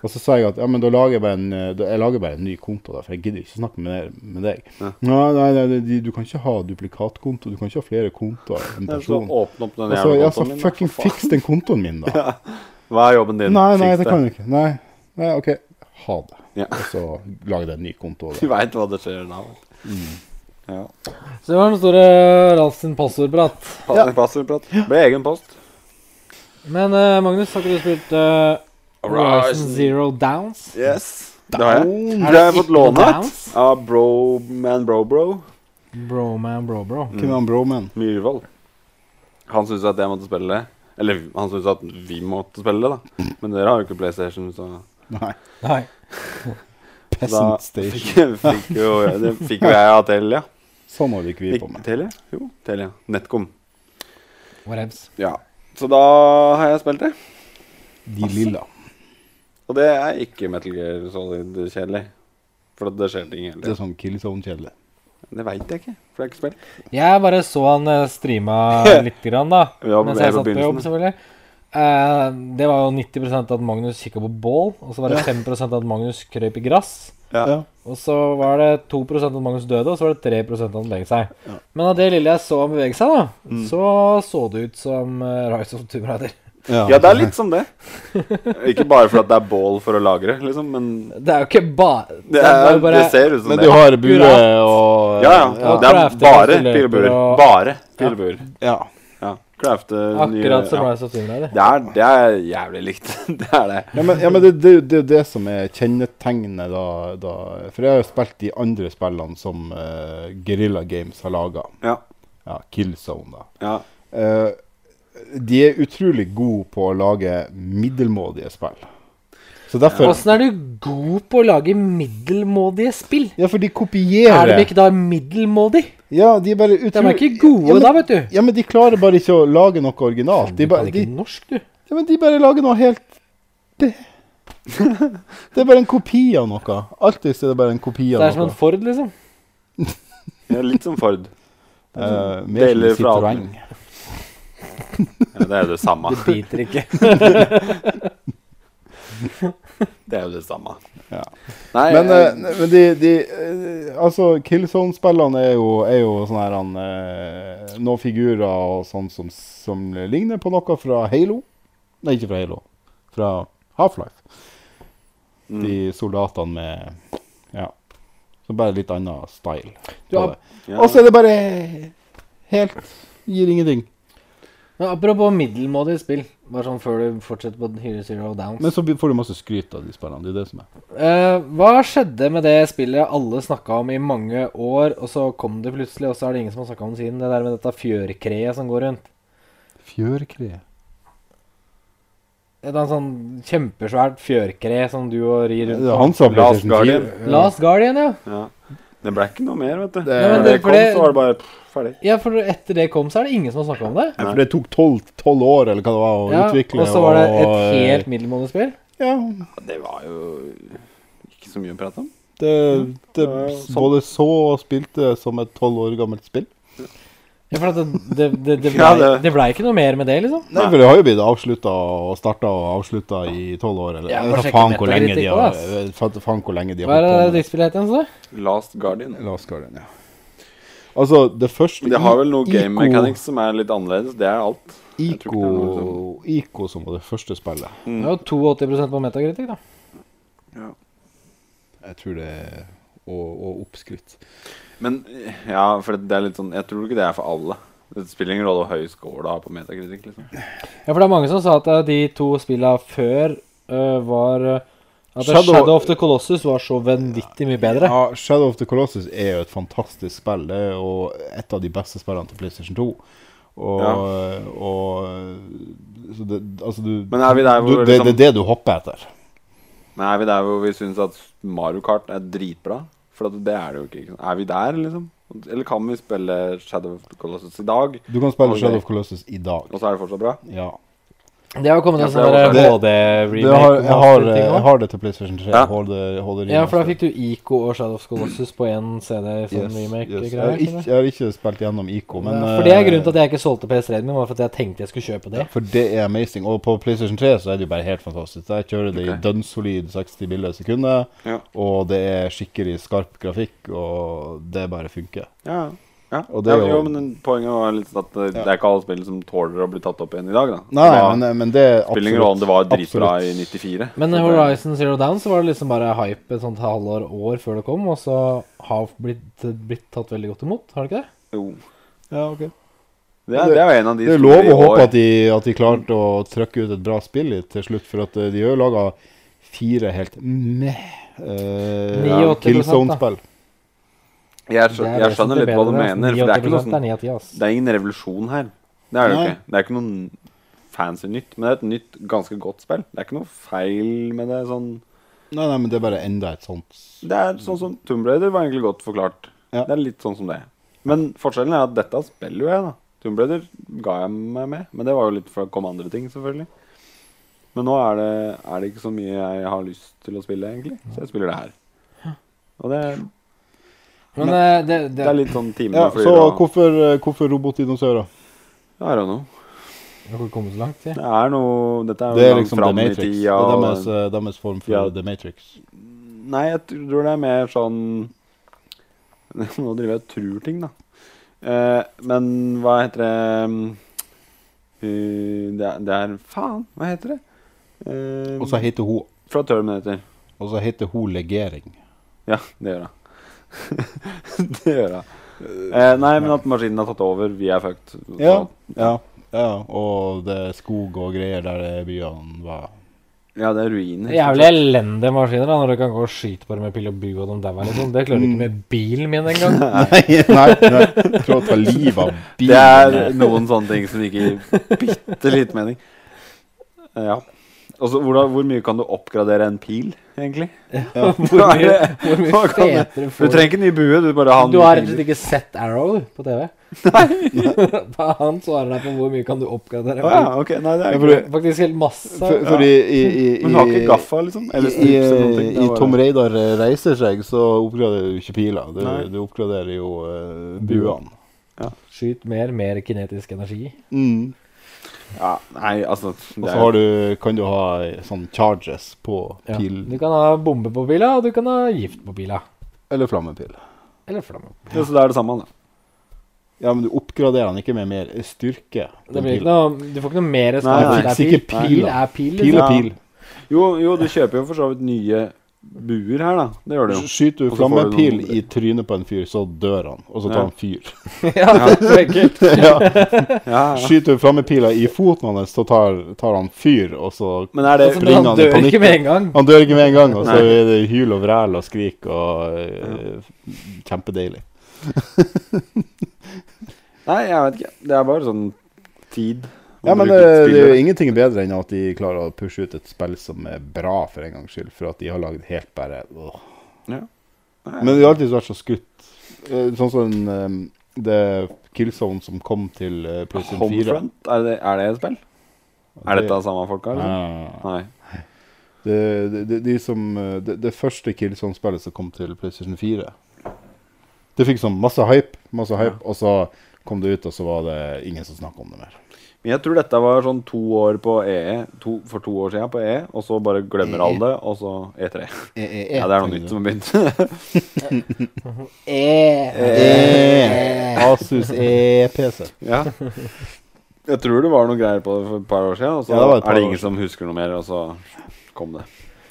S4: Og så sa jeg at ja, men da lager jeg bare en, eh, da, jeg lager bare en ny konto, da, for jeg gidder ikke snakke med, deg- med deg.
S2: Ja.
S4: Nei, nei, nei, det- de- du kan ikke ha duplikatkonto, du kan ikke ha flere kontoer enn
S2: Jeg skal
S4: person.
S2: åpne opp den
S4: Og så,
S2: jævla
S4: ja, så
S2: kontoen min. da,
S4: fucking
S2: for faen.
S4: fiks den kontoen min, da.
S2: Hva er jobben din?
S4: Nei, nei,
S2: Fiks
S4: det kan du ikke. Nei, nei OK. Ha det.
S2: Ja.
S4: Og så lager jeg en ny konto.
S2: Du
S4: og det.
S2: veit hva det skjer da. vet du.
S4: Mm.
S2: Ja.
S3: Så det var den store Ralf sin passordprat.
S2: Ha en Passordprat. Ble egen post.
S3: Men eh, Magnus, har ikke du spilt eh, Horizon Zero Downs?
S2: Yes. Det har jeg.
S4: Down.
S2: Det har jeg fått låne
S3: Downs?
S2: av Bro Man Bro Bro.
S3: Bro man, bro bro.
S4: Hvem er han broman?
S2: Myhrvold. Han syntes at jeg måtte spille det. Eller han syntes at vi måtte spille det, da. Men dere har jo ikke PlayStation, så
S4: Nei.
S3: Nei.
S2: Da
S4: Peasant
S2: fikk,
S4: Station.
S2: fikk jo, det fikk jo jeg av Telia.
S4: Sånn holder ikke vi på
S2: Ikke
S4: med.
S2: Telia? Jo, Telia. Netcom.
S3: Whatevs.
S2: Ja. Så da har jeg spilt det.
S4: De lilla.
S2: Og det er ikke Metal Gear Solid-kjedelig. For at det skjer ting hele
S4: Det er
S2: tiden.
S4: sånn killzone-kjedelig.
S2: Det veit jeg ikke, for det er ikke spilt.
S3: Jeg bare så han eh, streama litt, grann, da.
S2: Ja,
S3: mens
S2: det
S3: jeg
S2: var
S3: satt på jobb,
S2: begynnelsen.
S3: selvfølgelig. Eh, det var jo 90 at Magnus kikka på bål, og så var det 5 at Magnus krøp i gress.
S2: Ja.
S3: Og så var det 2 at Magnus døde, og så var det 3 at han beveget seg. Men av det lille jeg så han bevege seg, da, så så det ut som eh, Rise of Tomb Raider.
S2: ja, det er litt som det. Ikke bare fordi det er bål for å lagre, liksom, men
S3: Det er jo ikke bare
S2: det, er,
S3: jo bare
S2: det ser ut som
S4: Men
S2: sånn det.
S4: du har bue og
S2: Ja, ja.
S3: ja.
S2: Det er
S3: Crafte
S2: bare
S3: pistoler
S2: pilebuer.
S3: og-
S2: Bare pilebuer.
S4: ja.
S2: Ja. Crafte nye
S3: akkurat som
S2: ja.
S3: Rise of Tomb Raider.
S2: Det er, det er jævlig likt. Det er det.
S4: Ja, men, ja, men det, det, det er jo det som er kjennetegnet da, da For jeg har jo spilt de andre spillene som uh, Guerrilla Games har laga.
S2: Ja.
S4: Ja, Killzone, da.
S2: ja.
S4: Eh, de er utrolig gode på å lage middelmådige spill. Så derfor
S3: Åssen er du god på å lage middelmådige spill?
S4: Ja, for de
S3: Er
S4: kopierer
S3: de ikke da middelmådig?
S4: Ja, de er bare utrolig
S3: De er ikke gode
S4: ja, men,
S3: da, vet du.
S4: Ja, men de klarer bare ikke å lage noe originalt. De,
S3: Du
S4: ba,
S3: kan
S4: de,
S3: ikke norsk, du.
S4: ja, men de bare lager noe helt Det Det er bare en kopi av noe. Alltid så er det bare en kopi av
S3: Det er som
S4: noe.
S3: en Ford, liksom.
S2: ja litt som Ford.
S4: Eh, mer som
S2: Deler
S4: en
S2: fra
S4: Citroën.
S2: den. Ja, det er det samme.
S3: Det biter ikke.
S2: Det er jo det samme.
S4: Ja.
S2: Nei,
S4: Men,
S2: jeg-
S4: eh, men de, de eh, Altså, Killzone-spillene er jo, er jo sånne her han, eh, Noen figurer og sånn som, som ligner på noe fra Halo. Nei, ikke fra Halo. Fra Half-Life. De
S3: Mm.
S4: soldatene med Ja. Så bare litt annen style.
S3: Du,
S4: på
S3: ap-
S4: det.
S2: ja.
S4: Og så er det bare helt Gir ingenting.
S3: Men apropos middelmådige spill, bare sånn før du fortsetter på Hero Zero Downs.
S4: Men så blir- får du masse skryt av de spillene. Det er det som er.
S3: Eh, hva skjedde med det spillet alle snakka om i mange år, og så kom det plutselig, og så er det ingen som har snakka om det siden? Det der med dette fjørkreet som går rundt.
S4: Fjørkre.
S3: Et annet sånn kjempesvært fjørkre som du og rir
S4: Det
S3: rundt
S4: er
S3: på.
S4: han som har
S2: Last
S4: PlayStation
S2: Guardian.
S4: 4.
S3: Last Guardian, ja.
S2: ja. Det ble ikke noe mer, vet du.
S4: Nei,
S2: Når
S4: men
S2: det
S3: det- for
S2: kom,
S3: det-
S2: så var det bare pff, ferdig.
S3: Ja, for etter det kom, så er det ingen som har snakka om det.
S4: Ja, for det tok tolv tolv år eller hva det var å
S3: Ja,
S4: utvikle.
S3: og så var det et
S4: og, eh,
S3: helt middelmådig spill.
S4: Ja,
S2: Ja, det var jo ikke så mye å prate om.
S4: det, det
S2: Ja, ja, sånn.
S4: både så og spilte som et tolv år gammelt spill.
S3: Ja, for at det, det, det, det blei
S2: Ja, det-
S3: det ble ikke noe mer med det, liksom.
S4: Nei,
S2: Nei.
S4: for det har jo blitt avslutta og starta og avslutta i tolv år. Eller jeg
S3: Ja, bare
S4: vet da
S3: sjekke
S4: faen hvor lenge de
S3: metakritikk
S4: har
S3: også,
S4: jeg vet faen hvor lenge de har
S3: Hva er det
S4: holdt på med det.
S3: drittspillet het igjen? sa du?
S2: Last Guardian.
S4: Last Guardian, ja. Altså, det første
S2: Men Det har vel noe
S4: I-
S2: game
S4: Ico-
S2: mechanics som er litt annerledes. Det er alt. Jeg tror ikke det er noe
S4: Ico, Ico som var det første spillet.
S3: Det var jo 82 på metakritikk, da.
S4: Jeg tror det er og, og oppskrytt.
S2: Men ja, for det er litt sånn Jeg tror ikke det er for alle. Det spiller ingen rolle hvor høy score du har på metakritikk. liksom
S3: Ja, for det er mange som sa at eh, de to spilla før eh, var eh, At Shadow...
S4: Shadow-
S3: Shadow of the Colossus var så vanvittig mye bedre.
S4: Ja, Shadow of the Colossus er jo et fantastisk spill. Det er jo et av de beste spillene til PlayStation 2. Og,
S2: Ja.
S4: og så det, Altså, du,
S2: Men er vi der hvor
S4: du det,
S2: liksom-
S4: det er det du hopper etter.
S2: Men er vi der hvor vi syns at Mario Kart er dritbra? For at det er det jo ikke. ikke sant? Er vi der, liksom? Eller kan vi spille Shadow of the Colossus i dag,
S4: Du kan spille
S2: Ok.
S4: Shadow of Colossus i dag.
S2: og så er det fortsatt bra?
S4: Ja.
S3: Det har jo kommet
S2: Ja,
S3: en
S2: for
S3: sånn
S2: det var-
S4: Det- Det
S3: HD-remake.
S4: har, jeg, har, jeg har det til PlayStation 3.
S2: Ja.
S4: Hold det- hold det
S3: Ja, for da
S4: remaster.
S3: fikk du Ico og Shadow of the Colossus på én CD. Sånn
S4: Yes, yes. Jeg, har
S3: remake-greier.
S4: ikke, jeg har ikke spilt gjennom IK, men eh,
S3: ja, for det er grunnen til at jeg ikke solgte PS3-en min, var for at jeg tenkte jeg skulle kjøpe det.
S4: For det er amazing. Og på PlayStation 3 så er det jo bare helt fantastisk. Der kjører det
S2: Ok.
S4: i dønnsolid 60 bilder i sekundet,
S2: Ja.
S4: og det er skikkelig skarp grafikk, og det bare funker.
S2: Ja, ja.
S4: Og det er
S2: ja
S4: jo-
S2: jo, men poenget var litt sånn at det, det er ikke alle spill som tåler å bli tatt opp igjen i dag, da.
S4: Nei,
S2: Da
S4: men, men det er
S2: spiller ingen rolle om det var dritbra
S4: absolutt.
S2: i 94.
S3: Men eh,
S2: Så det-
S3: Horizon Zero Down så var det liksom bare hype et sånt halvår år før det kom, og så har blitt, blitt tatt veldig godt imot, har det ikke det?
S2: Jo.
S4: Ja, ok.
S2: Det er, det er jo en av de
S4: Det er
S2: store
S4: lov å
S2: i år.
S4: håpe at de, at de klarte å trykke ut et bra spill i- til slutt, for at eh, de har jo laga fire helt meh uh,
S3: 89%
S4: Killzone-spill.
S2: Jeg,
S3: Det
S2: skjønner,
S3: er
S2: jeg skjønner litt
S3: vesentlig
S2: hva du
S3: bedre, altså, ass.
S2: mener. For det er ikke noe
S3: 89%
S2: sånn
S3: ni av ti, ass.
S2: Det er ingen revolusjon her. Det er det jo
S4: Nei.
S2: ikke. Det er ikke noe fancy nytt, men det er et nytt, ganske godt spill. Det er ikke noe feil med det sånn
S4: Nei, nei, men det er bare enda et sånt
S2: Det er sånn som Tomb Raider var egentlig godt forklart.
S4: Ja.
S2: Det er litt sånn som det. Men forskjellen er at dette spiller jo jeg, da. Tomb Raider ga jeg meg med, men det var jo litt for å komme andre ting, selvfølgelig. Men nå er det, er det ikke så mye jeg har lyst til å spille, egentlig. Så jeg spiller det her. Og det,
S3: Men eh, det,
S2: det
S3: det
S2: er litt sånn timene
S4: Ja,
S2: flyr
S4: så
S2: og
S4: hvorfor, eh, hvorfor robotdinosaurer?
S2: I don't know.
S3: Vi har ikke kommet så langt, si.
S2: Det er noe Dette er
S4: Det
S2: jo
S4: er
S2: langt
S4: liksom The
S2: fram i
S4: Matrix. Det
S2: tida.
S4: er
S2: og-
S4: deres, eh, deres form for
S2: Ja.
S4: The Matrix.
S2: Nei, jeg tror det er mer sånn Nå driver jeg og tror ting, da. Eh, men hva heter det mm, eh, det, er, det er Faen, hva heter det? Eh,
S4: Og så heter hun
S2: fra Terminator.
S4: Og så heter hun legering.
S2: Ja, det gjør hun. det gjør hun. Eh, nei, men at maskinen har tatt over. Vi er fucked. Så-
S4: Ja, ja, ja. Og det er skog og greier der det byene var.
S2: ja, det er ruiner.
S3: Jævlig elendige maskiner da, når du kan gå og skyte på dem med pil og bue og de dauer liksom. Det klarer du ikke med bilen min engang.
S4: Nei, nei, nei. Jeg tror det var livet av
S2: Det er noen sånne ting som ikke gir bitte litt mening. Eh, Ja. Og så hvordan- hvor mye kan du oppgradere en pil, egentlig?
S3: Hvor mye, hvor mye
S2: Hva kan du-
S3: fetere
S2: Du
S3: får
S2: trenger ikke ny bue, du bare har
S3: Du har
S2: nye
S3: rett og
S2: piler.
S3: slett ikke sett Arrow på TV? Nei. da han svarer deg på hvor mye kan du oppgradere.
S2: Å ja, ok, nei, det er
S4: Ja,
S2: ikke
S4: for-
S2: det.
S3: Faktisk helt masse.
S4: For, for i, i, i,
S2: Men du har ikke gaffa, liksom? Eller
S4: i,
S2: snips eller noen ting?
S4: i,
S2: Det er bare-
S4: Tom Reidar reiser seg, så oppgraderer du ikke piler. Du,
S2: Nei.
S4: du oppgraderer jo eh, buene.
S3: Skyt mer, mer kinetisk energi.
S4: Mm.
S2: Ja, nei, altså
S4: Og
S2: det
S4: så
S2: er-
S4: har du, kan du ha eh, sånn charges på
S3: Ja.
S4: pil
S3: Du kan ha bombe på bila, og du kan ha gift på bila.
S4: eller flammepil.
S3: Eller flamme.
S2: ja, Så det er det samme, da.
S4: Ja, men du oppgraderer den ikke med mer styrke.
S3: Det
S4: enn
S3: blir
S4: pil.
S3: ikke noe, du får ikke noe mer respons.
S2: Nei,
S4: nei.
S3: Det er
S4: Sikkert pil,
S3: Pil
S4: da.
S3: er pil.
S4: Pil
S3: Liksom.
S4: er
S2: Ja.
S4: pil.
S2: Jo, jo, du kjøper jo for så vidt nye buer her, da. Det gjør du jo.
S4: Skyter
S2: Og
S4: du
S2: så får du
S4: flammepil
S2: noen-
S4: i trynet på en fyr, så dør han, og så
S2: Ja.
S4: tar han fyr.
S3: ja, det er ekkelt.
S4: ja.
S2: Ja, ja.
S4: Skyter du flammepiler i foten hans, så tar, tar han fyr, og så
S2: Men er det
S4: Altså,
S3: Men han
S4: Blindene i
S3: dør
S4: panikk.
S3: ikke med en gang.
S4: Han dør ikke med en gang, og så
S2: Nei.
S4: er det hyl og vræl og skrik og eh, Kjempedeilig.
S2: Nei, jeg vet ikke. Det er bare sånn tid. å
S4: Ja, men eh,
S2: bruke
S4: det, det er
S2: spillere.
S4: jo ingenting bedre enn at de klarer å pushe ut et spill som er bra, for en gangs skyld. For at de har lagd helt bare åh.
S2: Ja. Nei.
S4: Men de har alltid vært så skutt. Eh, Sånn som eh, det Killzone som kom til eh, PlayStation 4.
S2: Homefront, er det, er det et spill? Er dette samme folka?
S4: Nei,
S2: Liksom?
S4: nei, nei.
S2: Nei.
S4: Det, det, det, de som, eh, det, det første Killzone-spillet som kom til PlayStation 4. Det fikk sånn masse hype, masse hype, og så kom det ut, og så var det ingen som snakka om det mer.
S2: Men jeg tror dette var sånn to år på EE, to, for to år siden på EE, og så bare glemmer alle det, og så E3.
S4: E
S2: Ja, det er noe nytt som har begynt.
S4: Eh, Asus E E-PC.
S2: ja. Jeg tror det var noe greier på det for et par år siden, og så
S4: Ja, det var et par
S2: er det
S4: år
S2: ingen som husker noe mer, og så kom det.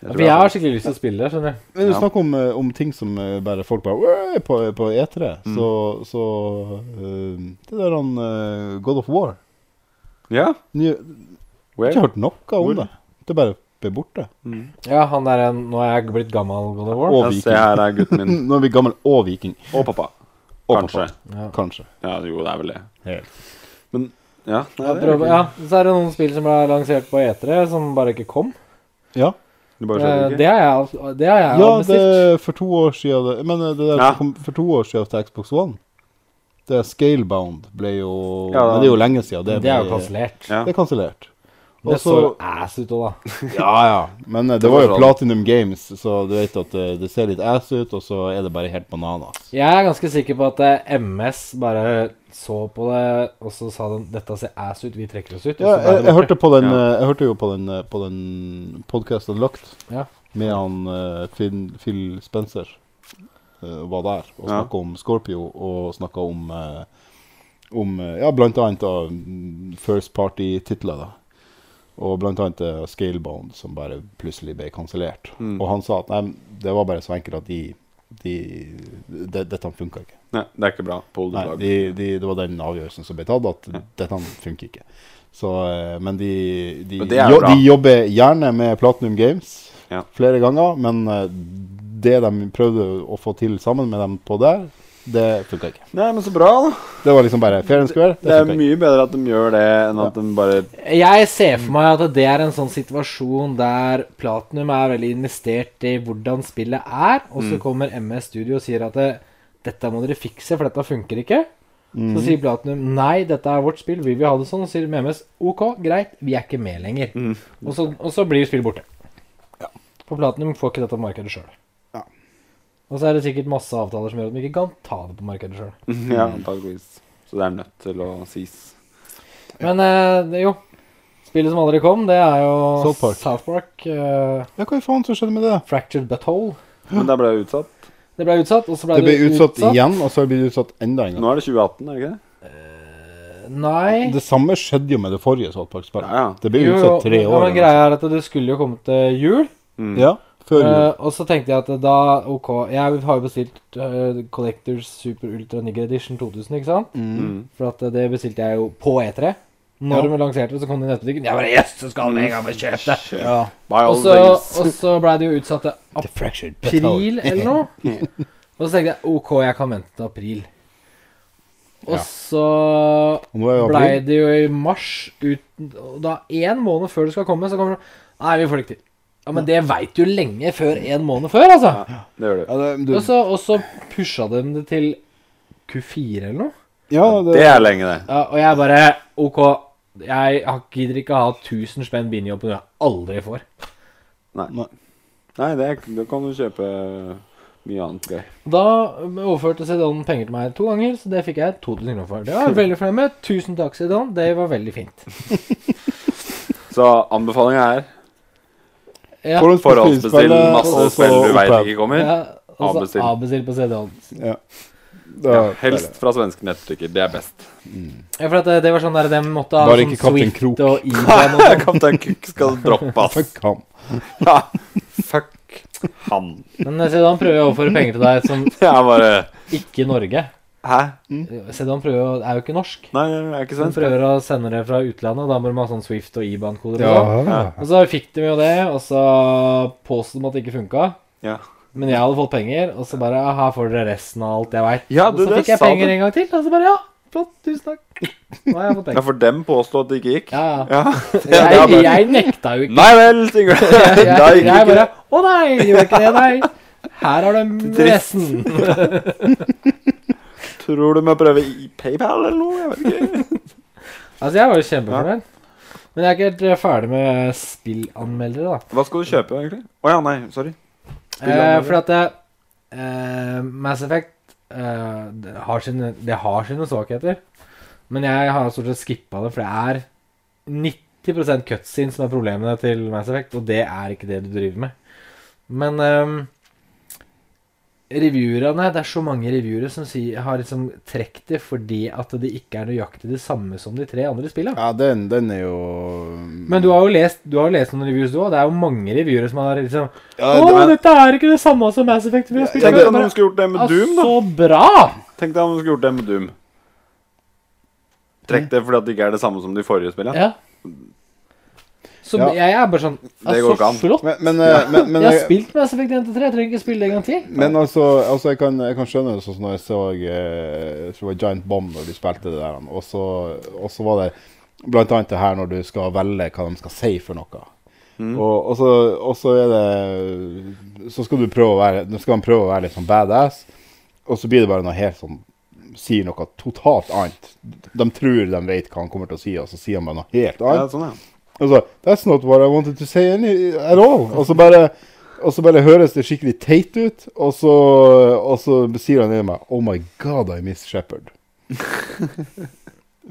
S2: Jeg
S3: For
S2: det
S3: jeg
S2: er
S3: har
S2: sånn.
S3: skikkelig lyst til å spille det, skjønner du.
S4: Men du
S2: Ja.
S4: snakker om, eh, om ting som eh, bare folk bare «Åh!» på, på E3,
S2: Mm.
S4: så, så eh, Det der han eh, God of War
S2: Ja,
S4: Ny, Jeg har ikke
S2: where?
S4: hørt noe om
S2: Hvor?
S4: det. Det er bare ble borte.
S3: Ja, han der, eh, Nå er jeg blitt gammel God of War.
S4: Og
S2: Mm. Ja,
S4: viking.
S2: se her er gutten min.
S4: Nå er vi gammel og viking.
S2: Og pappa.
S4: Og
S2: Kanskje.
S3: Ja.
S4: Kanskje.
S2: Ja, jo, det er vel det.
S4: Helt.
S2: Men ja. Nei,
S3: Ja,
S2: det er
S3: prøv,
S2: ikke-
S3: ja, så er det noen spill som ble lansert på E3, som bare ikke kom.
S4: Ja,
S2: Det
S3: Eh,
S2: bare skjer
S3: Det
S2: ikke.
S3: har jeg, det har jeg
S4: ja det
S3: bestilt.
S4: er for to år siden det, Men eh, det der
S2: Ja.
S4: som kom for to år siden til Xbox One Det Scalebound ble jo
S2: Ja,
S4: Men det er jo lenge siden.
S3: Det,
S4: Det,
S3: er jo
S4: ble-
S3: kansellert.
S2: Ja.
S4: Det er kansellert.
S3: Det
S4: Og
S3: så
S4: så-
S3: ass ut òg, da.
S4: Ja, ja. Men eh, det,
S2: Det
S4: var
S2: var
S4: jo
S2: sånn.
S4: Platinum Games, så du vet at eh, det ser litt ass ut, og så er det bare helt bananas.
S3: Jeg er ganske sikker på at eh, MS bare så på det, og så sa de 'dette ser ass ut, vi trekker oss ut'. og
S4: Ja,
S3: så
S4: jeg,
S3: ble det
S4: jeg,
S3: borte.
S4: hørte på den,
S2: Ja.
S4: eh, jeg hørte jo på den, eh, på den podkasten Lagt
S3: Ja.
S4: med han eh, Phil, Phil Spencer. eh, var der og
S2: Ja.
S4: snakka om Scorpio og snakka om eh, om eh, ja, blant annet da, mm, First Party-titler. da. Og blant annet eh, Scalebound, som bare plutselig ble kansellert.
S2: Mm.
S4: Og han sa at nei, det var bare så enkelt at de, de, de Dette funka ikke.
S2: Nei, det er ikke bra. Pull the
S4: Nei,
S2: plug.
S4: de, de, det var den avgjørelsen som ble tatt, at dette funker ikke. Så, eh, men de, de,
S2: Men det er jo
S4: jo,
S2: bra.
S4: de jobber gjerne med Platinum Games
S2: Ja.
S4: flere ganger, men eh, det de prøvde å få til sammen med dem på der, Det funka ikke.
S2: Nei, men så bra, da.
S4: Det var liksom bare fair and square.
S2: Det
S4: Det
S2: er
S4: funka ikke.
S2: mye bedre at de gjør det, enn at de bare
S3: Jeg ser for meg at det er en sånn situasjon der Platinum er veldig investert i hvordan spillet er, og så kommer MS Studio og sier at det, dette må dere fikse, for dette funker ikke. Så sier Platinum nei, dette er vårt spill, vi vil ha det sånn. Og sier MS ok, greit, vi er ikke med lenger. Og, så, og så blir spillet borte. For Platinum får ikke dette på markedet sjøl.
S4: Ja.
S3: Og så er det sikkert masse avtaler som gjør at de ikke kan ta det på markedet sjøl.
S2: Ja, antakeligvis. Så det er nødt til å sies.
S3: Men eh, det- jo. Spillet som aldri kom, det er jo
S4: South Park.
S3: South Park eh,
S4: Ja, hva faen som skjedde med det?
S3: Fractured Butthole.
S2: Men det ble jo utsatt.
S3: Det ble utsatt, og så ble
S4: Det
S3: det,
S4: ble utsatt igjen, og så blir det utsatt enda en gang.
S2: Nå er det 2018, er det ikke det?
S3: Nei.
S4: Det samme skjedde jo med det forrige South Park-spillet.
S2: Ja, ja.
S4: Det ble
S3: Jo,
S4: utsatt tre
S3: jo,
S4: år.
S3: men greia er at det skulle jo komme til jul,
S2: Mm.
S4: Ja, før jul.
S3: eh, og så tenkte jeg at da OK Jeg har jo bestilt eh, Collectors Super Ultra Nigger Edition 2000, ikke sant?
S2: Mm.
S3: For at eh, det bestilte jeg jo på E3. Når de lanserte det, så kom det i nettbutikken. Jeg bare Yes, så skal vi en gang med kjøpe det!
S4: Ja.
S2: By all
S3: Og så,
S2: means.
S3: og så ble det jo utsatt til
S4: The fractured
S3: april eller noe. Og så tenkte jeg OK, jeg kan vente til april. Og
S4: Ja.
S3: så
S4: Og nå er jo
S3: blei
S4: april.
S3: det jo i mars uten, og Da én måned før det skal komme, så kommer det Nei, vi får det ikke til. Ja, Men det veit du lenge før en måned før, altså.
S2: Ja, det gjør det.
S4: Ja, det, du,
S3: Og så- Og så pusha de det til Q4 eller noe.
S4: ja, det,
S2: Det er lenge, det.
S3: Ja, og jeg bare OK, jeg har- gidder ikke ha 1000 spenn binjobb når jeg aldri får.
S2: Nei, det, er- da kan du kjøpe mye annet gøy.
S3: Da overførte Sedan penger til meg to ganger, så det fikk jeg 2000 kroner for. Det var jeg veldig fornøyd med. Tusen takk, Sedan. Det var veldig fint.
S2: Så anbefalinga er
S3: Ja,
S2: forhåndsbestill masse
S3: og så
S2: spill du veit ikke kommer.
S3: ja, og så
S2: avbestill.
S3: avbestill på Sedan.
S2: Ja, helst fra svenske nettbutikker. Det er best.
S3: Ja, for at det, det var sånn der de måtte ha
S4: Bare
S3: sånn
S4: ikke Kaptein
S3: Swift
S4: Krok.
S3: og IBAN og sånn.
S2: Kaptein Cook skal droppe, ass.
S4: Fuck ham.
S2: Ja. Fuck han.
S3: Men eh, Sedan prøver å overføre penger til deg som
S2: Det er bare
S3: ikke Norge.
S2: Hæ?
S3: Sedan prøver å, er jo ikke norsk.
S2: Nei, jeg er ikke
S3: De
S2: svensk.
S3: prøver å sende det fra utlandet, og da må de ha sånn Swift og IBAN-koder.
S4: Ja.
S3: og sånn. Og så fikk de jo det, og så påstod de at det ikke funka.
S2: Ja.
S3: Men jeg hadde fått penger, og så bare ja, Her får dere resten av alt jeg veit.
S2: Ja,
S3: og
S2: du,
S3: så
S2: det
S3: fikk jeg
S2: sa
S3: penger
S2: du.
S3: en gang til, og så bare ja, flott, tusen takk. Nå har jeg fått
S2: ja,
S3: penger.
S2: for dem påstå at det ikke gikk?
S3: Ja, ja.
S2: Ja. det er
S3: Jeg,
S2: bare-
S3: jeg nekta jo ikke.
S2: Nei vel, Sigurd.
S3: Jeg, jeg,
S2: Da
S3: jeg,
S2: gikk det ikke.
S3: bare Å nei, gjorde ikke det, nei. Her har du resten.
S2: Tror du må prøve i PayPal eller noe? Jeg vet ikke.
S3: Altså, jeg var jo kjempefornøyd. Men jeg er ikke helt eh, ferdig med spillanmeldere, da.
S2: Hva skal du kjøpe, egentlig? Å ja, nei, sorry.
S3: Eh,
S2: Spillanmeldere.
S3: for at eh, eh, Mass Effect eh, det, har sine, det har sine svakheter. Men jeg har stort sett skippa det, for det er 90 cutscene som er problemene til Mass Effect, og det er ikke det du driver med. Men eh, reviewerne Det er så mange reviewere som sier, har liksom trukket det fordi at det ikke er nøyaktig det samme som de tre andre spillene.
S4: Ja, den, den er jo
S3: Men du har jo lest, du har jo lest noen reviews du òg. Det er jo mange revyere som har liksom
S4: ja,
S3: Å,
S4: det,
S3: dette er ikke det samme som Mass Effect vi har spilt.
S2: Tenk deg
S3: før».
S2: om de
S3: Bare,
S2: skulle gjort det med
S3: «Ah,
S2: Doom, da.
S3: Så bra!
S2: Tenk deg om de skulle gjort det med Doom. Trekk det fordi at det ikke er det samme som de forrige spillene.
S3: Ja. Så
S4: Ja.
S3: jeg er bare sånn «Ah,
S2: Det går ikke
S3: Så
S2: an».
S3: flott.
S4: men, men, eh, men, men,
S3: jeg har
S4: jeg-
S3: spilt Mass Effect 1 til 3, jeg trenger ikke spille det en gang til.
S4: men altså, altså jeg, kan, jeg kan skjønne det sånn som når jeg så eh, tror det var Giant Bomb når du spilte det der, og så, og så var det blant annet det her når du skal velge hva de skal si for noe. Og, og, så, og så er det Så skal du prøve å være Nå skal han prøve å være litt sånn badass, og så blir det bare noe helt sånn Sier noe totalt annet. De tror de vet hva han kommer til å si, og så sier han bare noe helt
S2: Ja,
S4: annet.
S2: sånn, ja.
S4: Og så, Altså, That's not what I wanted to say any, at all. Og så bare, og så bare høres det skikkelig teit ut, og så, og så sier han til meg Oh my God, I miss Shepherd.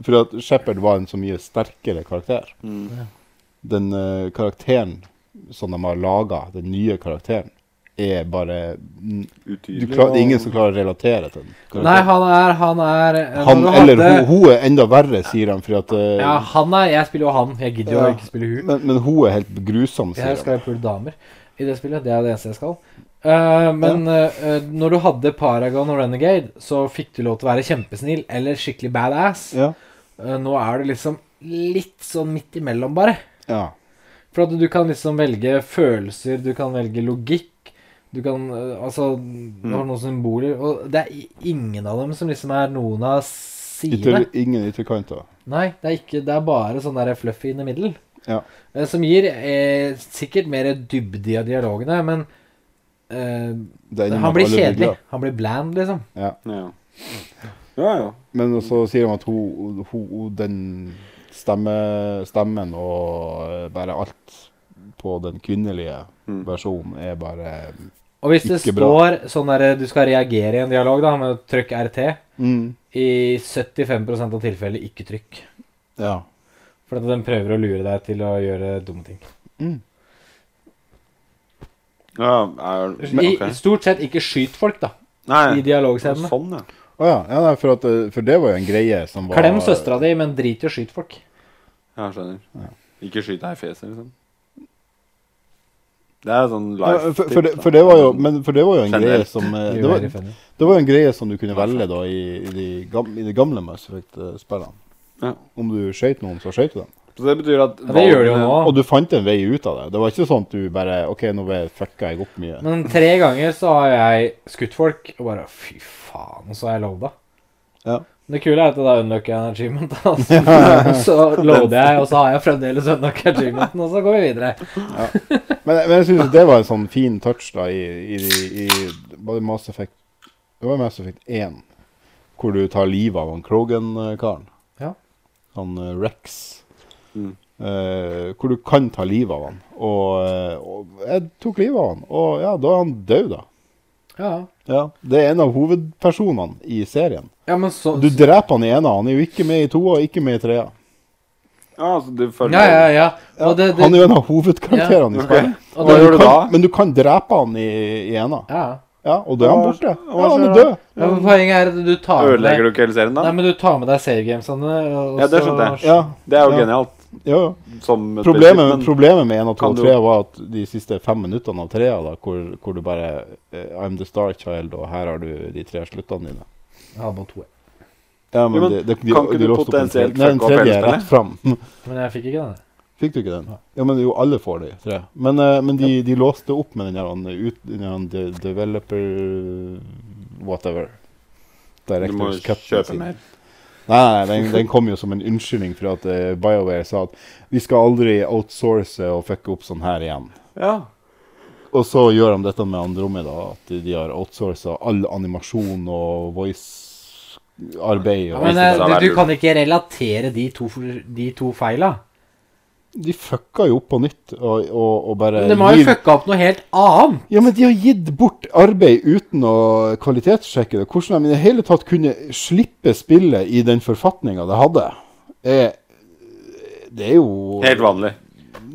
S4: For at Shepherd var en så mye sterkere karakter. Den eh, karakteren som de har laga, den nye karakteren, er bare du
S2: Utydelig.
S4: klar, Det er ingen
S2: og-
S4: som klarer å relatere til den. karakteren.
S3: Nei, han er Han er
S4: han
S3: når du
S4: eller
S3: hadde-
S4: hun, hun er enda verre, sier de. For at, eh,
S3: Ja, han er Jeg spiller jo han. Jeg gidder jo
S4: Ja.
S3: ikke spille hun.
S4: men, men hun er helt grusom, sier
S3: Jeg
S4: de.
S3: skal jo pule damer i det spillet. Det er det eneste jeg skal. Eh, men eh, eh, når du hadde Paragon og Renegade, så fikk du lov til å være kjempesnill eller skikkelig badass.
S4: Ja.
S3: Eh, nå er du liksom litt sånn midt imellom, bare.
S4: ja.
S3: For at du kan liksom velge følelser, du kan velge logikk. Du kan eh, Altså, det har noen symboler Og det er i- ingen av dem som liksom er noen av sidene.
S4: Ytter, ingen ytterkanter.
S3: Nei, det er, ikke, det er bare sånn der fluffy in the middle.
S4: Ja.
S3: Eh, Som gir eh, sikkert mer dybde i dialogene, men eh,
S4: Det ender med
S3: han
S4: at
S3: blir
S4: alle
S3: kjedelig.
S4: glad.
S3: Han blir bland, liksom.
S4: Ja.
S2: Ja. Ja, ja.
S4: Men så sier de at hun, hun den stemme, stemmen og eh, bare alt på den kvinnelige versjonen er bare
S3: Og hvis det
S4: Ikke bra.
S3: står sånn der du skal reagere i en dialog, da, med å trykke RT
S4: mm,
S3: I 75 av tilfellene ikke trykk.
S4: Ja.
S3: For at den prøver å lure deg til å gjøre dumme ting.
S2: ja er,
S3: I,
S2: ok.
S3: Stort sett ikke skyt folk, da. I
S2: Nei,
S3: dialogscenene.
S2: sånn, ja.
S4: Å ja. ja nei, for, at, eh, for det var jo en greie som var
S3: Klem søstera di, men drit i å skyte folk.
S2: Ja, skjønner. Ikke skyt deg i fjeset, liksom. Det er sånn
S4: Ja,
S2: life
S4: for, for, det, for, det var jo, men, for det var jo en greie
S2: Generelt.
S4: som eh,
S3: Det
S4: det var,
S3: er veldig funny.
S4: det var jo en greie som du kunne velge da i, i, de, gamle, i de gamle Mass Effect-spillene.
S2: Ja.
S4: Om du skøyt noen, så skøyt du dem.
S2: Så det betyr at
S3: Ja, det gjør det jo
S2: valgene-
S3: nå.
S4: Og du fant en vei ut av det. Det var ikke sånn at du bare OK, nå ble- fucka jeg opp mye.
S3: Men tre ganger så har jeg skutt folk, og bare fy faen, så har jeg loada.
S4: Ja.
S3: Men Det kule er at da unlocker jeg en achievement. Altså. Så loader jeg, og så har jeg fremdeles unlocka achievementen, og så går vi videre.
S4: Men, men jeg syns det var en sånn fin touch da i, i, i, i var det Mass Effect Det var Mass Effect 1, hvor du tar livet av han Krogan-karen.
S3: Ja.
S4: Han eh, Rex.
S2: Mm.
S4: Eh, hvor du kan ta livet av han. Og, eh, og jeg tok livet av han, og ja, da er han død, da.
S3: Ja,
S4: Ja, Det er en av hovedpersonene i serien.
S3: ja men så
S4: Du dreper han i ena, han er jo ikke med i toa, ikke med i trea.
S2: Ja, altså, du følger
S3: Ja, ja, ja. Og det,
S4: Han
S3: det,
S4: er jo en av hovedkarakterene i spillet.
S3: og
S2: Hva
S3: det,
S2: gjør
S4: Du
S2: du da?
S4: kan, men du kan drepe han i, i ena.
S3: ja.
S4: Ja, og da er han
S2: Hva-
S4: borte.
S2: hva
S4: Ja, han
S2: skjer
S4: er
S2: da?
S4: død.
S3: ja, men Poenget er at du tar med deg
S2: Ødelegger du ikke hele serien,
S3: Nei,
S2: da?
S3: men du tar med deg savegamesene. og
S2: Ja, det
S3: så-
S2: skjønte jeg.
S4: Ja,
S2: Det er jo
S4: Ja.
S2: genialt.
S4: ja, ja.
S2: Som et prinsipp,
S4: Problemet,
S2: men-
S4: problemet med 1 av 2
S2: Kan
S4: og
S2: du-
S4: 3 var at de siste fem minuttene av trea, da, hvor, hvor du bare eh, I'm the star child, og her har du de tre sluttene dine.
S3: Jeg hadde bare to, jeg.
S4: Ja, men,
S2: Jo, men
S4: de, de, de,
S2: kan ikke
S4: de
S2: du
S4: låste opp en
S2: potensielt
S4: tredje- Nei, den
S2: fucke opp hele
S4: tredje er rett fram.
S3: men jeg fikk ikke den. jeg.
S4: Fikk du ikke den? Ja, men jo, alle får de tre. Men, eh, men de, de låste opp med den der, ut, den der de- developer whatever.
S2: Du må
S4: Directors
S2: jo
S4: cut
S2: kjøpe
S4: sin.
S2: mer.
S4: Nei, nei den, den kom jo som en unnskyldning for at eh, BioWare sa at vi skal aldri outsource og fucke opp sånn her igjen.
S2: Ja.
S4: Og så gjør de dette med Andromeda, at de har outsourca all animasjon og voice-arbeid.
S3: Ja,
S4: og-
S3: men
S2: det
S3: eh,
S2: hadde vært
S3: du, du
S2: lurt.
S3: kan ikke relatere de to, de to feila.
S4: De fucka jo opp på nytt og, og, og bare
S3: Men de har jo
S4: gir-
S3: fucka opp noe helt annet.
S4: Ja, men de har gitt bort arbeid uten å kvalitetssjekke det. Hvordan de i det hele tatt kunne slippe spillet i den forfatninga det hadde, er Det er jo
S2: Helt vanlig.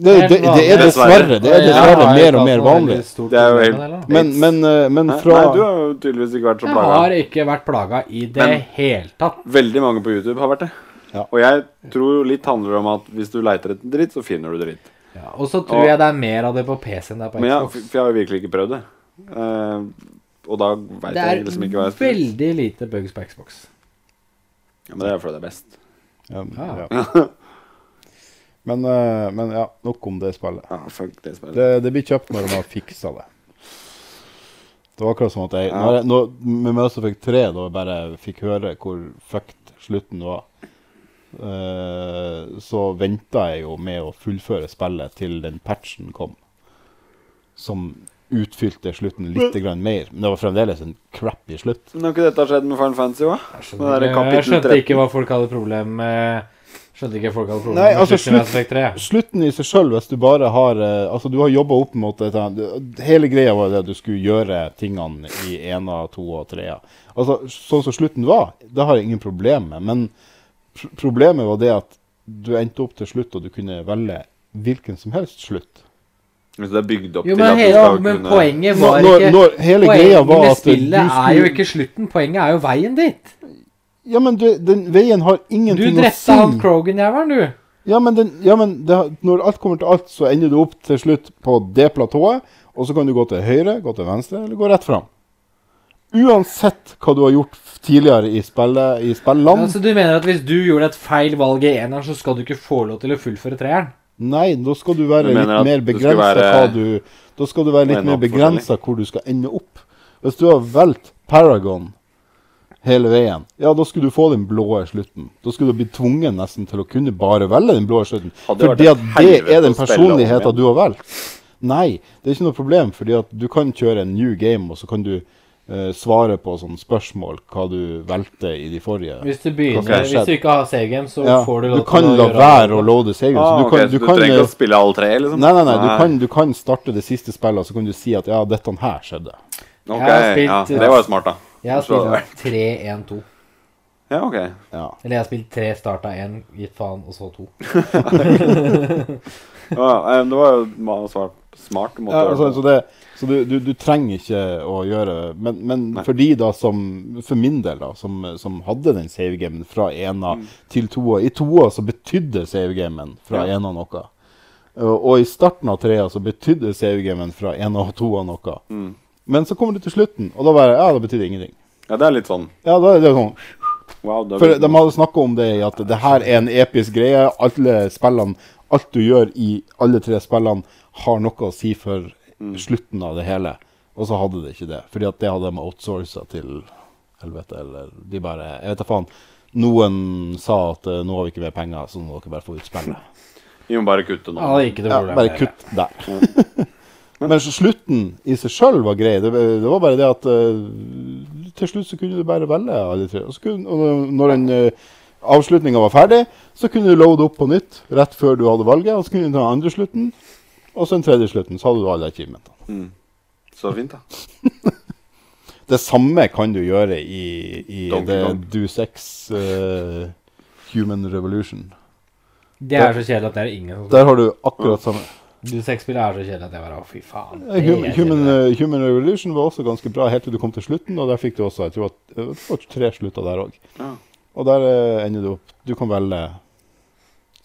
S4: Det, det, det er dessverre, det er dessverre
S3: Jeg har
S4: mer
S3: ikke
S4: og
S3: hatt
S4: mer
S3: noe
S4: vanlig.
S3: veldig stort
S2: Det er jo
S3: problem
S2: helt-
S3: med det, da.
S4: Men, men, eh, men
S2: Nei,
S4: fra
S2: nei, du har jo tydeligvis ikke vært så
S3: Jeg har
S2: plaga.
S3: ikke vært plaga i det
S2: Men-
S3: hele tatt.
S2: Veldig mange på YouTube har vært det.
S4: Ja.
S2: Og jeg tror jo litt handler om at hvis du leiter etter dritt, så finner du dritt.
S3: Ja, og så tror
S2: Og-
S3: jeg det er mer av det på PC enn det er på
S2: Men jeg,
S3: Xbox.
S2: for jeg har jo virkelig ikke prøvd det. Eh, og da veit
S3: det
S2: jeg
S3: er
S2: liksom ikke hva jeg skal gjøre.
S3: veldig lite bugs på Xbox.
S2: Ja, men det er fordi det er best.
S4: ja,
S3: Ja.
S4: ja. Men, eh, men ja, nok om det spillet.
S2: Ja, fuck det spillet.
S4: Det, det blir kjøpt når de har fiksa det. Det var akkurat som at jeg,
S2: Ja.
S4: når jeg når, Med Mass Effect 3, da jeg bare fikk høre hvor fucked slutten var, eh, så venta jeg jo med å fullføre spillet til den patchen kom. Som utfylte slutten litt grann mer. Men det var fremdeles en crappy slutt.
S2: Men har ikke dette skjedd med Final Fantasy òg?
S3: Jeg
S2: Men
S3: skjønte,
S2: er
S3: ikke,
S2: det
S3: jeg
S2: kapittel
S3: skjønte
S2: 13?
S3: ikke hva folk hadde problem med Skjønte ikke folk hadde problem
S4: Nei,
S3: med
S4: altså,
S3: slutten i Mass
S4: slutt-
S3: Effect 3.
S4: Slutten i seg sjøl, hvis du bare har eh, Altså, du har jobba opp mot dette det- Hele greia var det at du skulle gjøre tingene i ena, to og trea. Altså, sånn som slutten var, det har jeg ingen problem med. Men pr problemet var det at du endte opp til slutt, og du kunne velge hvilken som helst slutt.
S2: Hvis det er bygd opp
S3: Jo,
S2: til
S3: men,
S2: at du
S3: hele,
S2: skal
S3: men
S2: kunne
S3: poenget var
S4: Når, når,
S3: ikke
S4: når hele greia
S3: Poenget
S4: var
S3: med
S4: at du
S3: spillet er jo
S4: skulle
S3: ikke slutten, poenget er jo veien dit.
S4: Ja, men du, den veien har
S3: Du
S4: ingenting å si.
S3: drepte han Krogan-jævelen, du.
S4: Ja, men, den, ja, men det, har- når alt kommer til alt, så ender du opp til slutt på det platået. Og så kan du gå til høyre, gå til venstre, eller gå rett fram. Uansett hva du har gjort f- tidligere i, spillet, i spillene.
S3: Altså, Ja, så du mener at hvis du gjorde et feil valg i eneren, så skal du ikke få lov til å fullføre treeren?
S4: Nei, da skal du være
S2: Du
S4: litt
S2: mener at
S4: mer
S2: det skal
S4: begrensa
S2: være-
S4: hva du Da skal du være litt
S2: Ende
S4: mer
S2: opp
S4: begrensa hvor du skal ende opp. Hvis du har valgt Paragon hele veien, ja, da skulle du få den blå slutten. Da skulle du bli tvunget nesten til å kunne bare velge den blå slutten.
S2: Hadde det vært
S4: Fordi
S2: et
S4: at det
S2: helvete
S4: er den
S2: å spille om
S4: personligheten
S2: igjen?
S4: du har valgt. Nei, det er ikke noe problem, fordi at du kan kjøre en new game, og så kan du eh, svare på sånne spørsmål hva du valgte i de forrige.
S3: Hvis du begynner,
S4: Hva som har
S3: hvis du
S4: skjedd.
S3: ikke har save game, så
S4: Ja,
S3: får du
S4: du kan la være å loade save.
S2: Ah,
S4: så du
S2: ok,
S4: kan,
S2: så du, trenger
S4: eh,
S2: ikke å spille alle tre, liksom?
S4: Nei, nei, nei, du kan, du kan starte det siste spillet, og så kan du si at ja, dette her skjedde.
S2: Ok,
S3: Jeg har spilt,
S2: ja,
S3: eh,
S2: det var jo smart, da.
S3: Jeg har
S2: Så-
S3: spilt 3-1-2.
S2: Ja, ok.
S4: Ja.
S3: Eller jeg har spilt tre starta én, gitt faen, og så to.
S2: Ja, eh, det var jo ma- svart, smart måte
S4: Ja,
S2: å
S4: altså,
S2: gjøre
S4: så
S2: det på.
S4: det, så du, du, du trenger ikke å gjøre Men, men
S2: Nei.
S4: for de da som For min del, da, som, som hadde den savegamen fra ena til toa I toa så betydde savegamen fra
S2: Ja.
S4: ena noe. Og, og i starten av trea så betydde savegamen fra ena og toa noe. Men så kommer du til slutten, og da bare Ja, det betydde ingenting.
S2: Ja, det er litt sånn
S4: Ja, da er det sånn
S2: wow. Det er
S4: For
S2: blitt-
S4: de hadde snakka om det, i at det her er en episk greie. Alle spillene, alt du gjør i alle tre spillene, har noe å si for slutten av det hele. Og så hadde det ikke det. Fordi at det hadde de outsourca til helvete, eller de bare Jeg vet da faen. Noen sa at eh, nå har vi ikke mer penger, så nå må dere bare få ut spillet.
S2: Vi må bare kutte nå.
S3: Ja, det gikk det
S4: Ja,
S3: problemet.
S4: bare kutt der. Men så slutten i seg sjøl var grei. Det, det var bare det at eh, til slutt så kunne du bare velge alle tre. Og, så kunne, og når den uh, avslutninga var ferdig, så kunne du loade opp på nytt rett før du hadde valget. Og så kunne du ta den andre slutten, og så den tredje slutten. Så hadde du alle achievementene.
S2: Så fint, da.
S4: Det samme kan du gjøre i, i
S2: Donkey
S4: det
S2: Kong.
S4: Do Sex eh, Human Revolution.
S3: Det er så kjedelig at det er ingen som
S4: Der har du akkurat samme
S3: Du sexspillet er så kjedelig at jeg bare Å, fy faen.
S4: Eh, hum, human, eh, human Revolution var også ganske bra helt til du kom til slutten, og der fikk du også jeg tror at, eh, det var tre slutter der òg.
S2: Ja.
S4: Og der eh, ender du opp. Du kan velge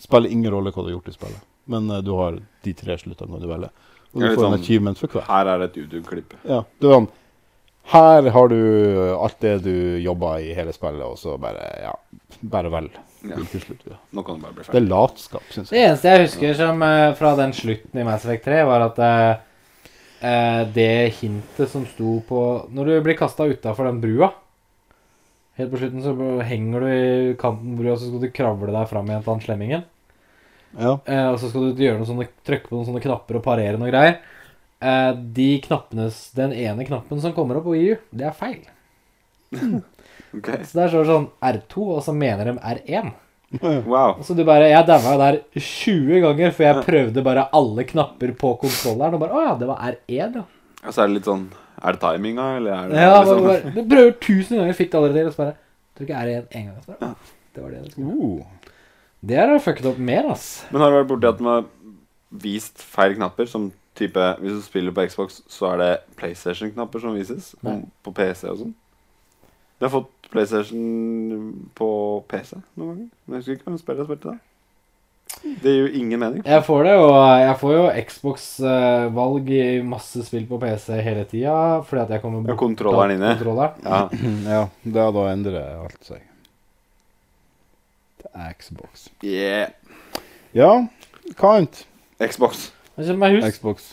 S4: Spiller ingen rolle hva du har gjort i spillet, men eh, du har de tre sluttene kan du velge. Og
S2: Det
S4: du
S2: er litt
S4: får en
S2: sånn-
S4: achievement for hver.
S2: Her er det et YouTube-klipp.
S4: Ja, det var sånn Her har du eh, alt det du jobba i hele spillet, og så bare Ja, bare velg.
S2: Ja.
S4: hvilken slutt du vil.
S2: Nå kan det bare bli
S4: Det
S2: ferdig.
S4: er latskap, syns
S3: Det
S4: jeg.
S3: eneste jeg husker som, eh, fra den slutten i Mass Effect 3, var at eh, eh, det hintet som sto på Når du blir kasta utafor den brua Helt på slutten så henger du i kanten av brua, og så skal du kravle deg fram igjen til han slemmingen.
S4: Ja.
S3: Eh, og så skal du gjøre noen sånne, trykke på noen sånne knapper og parere noen greier. Eh, de knappene, s- Den ene knappen som kommer opp på EU, det er feil.
S2: Ok,
S3: Så der står det sånn R2, og så mener de R1.
S2: Wow.
S3: Så Altså, du bare, Jeg daua jo der 20 ganger, for jeg prøvde bare alle knapper på kontrolleren. Og bare, å ja, det var E, R1, ja.
S2: Og så er det litt sånn Er det timinga, eller er det
S3: ja bare,
S2: liksom-
S3: bare, du prøver 1000 ganger, fikk det allerede til. Og så bare Tror ikke R1 en gang. Så bare, «Å, det var det jeg skulle.
S4: Uh.
S3: Det er å fucket opp mer, ass.
S2: Men har det vært borti at den har vist feil knapper? Som type Hvis du spiller på Xbox, så er det PlayStation-knapper som vises.
S3: Nei.
S2: om- På PC og sånn. Jeg har fått PlayStation på PC noen ganger. Men jeg husker ikke hvem spillet jeg spilte da. Det gir jo ingen mening.
S3: Jeg får det, og jeg får jo Xbox-valg i masse spill på PC hele tida. Fordi at jeg kommer
S2: Ja, kontrolleren inne.
S3: Kontrolleren.
S2: Ja.
S4: Ja, det er da endrer alt seg. Det er Xbox.
S2: Yeah.
S4: Ja, Kant.
S2: Xbox.
S3: Altså, Men kjøp meg hus.
S4: Xbox.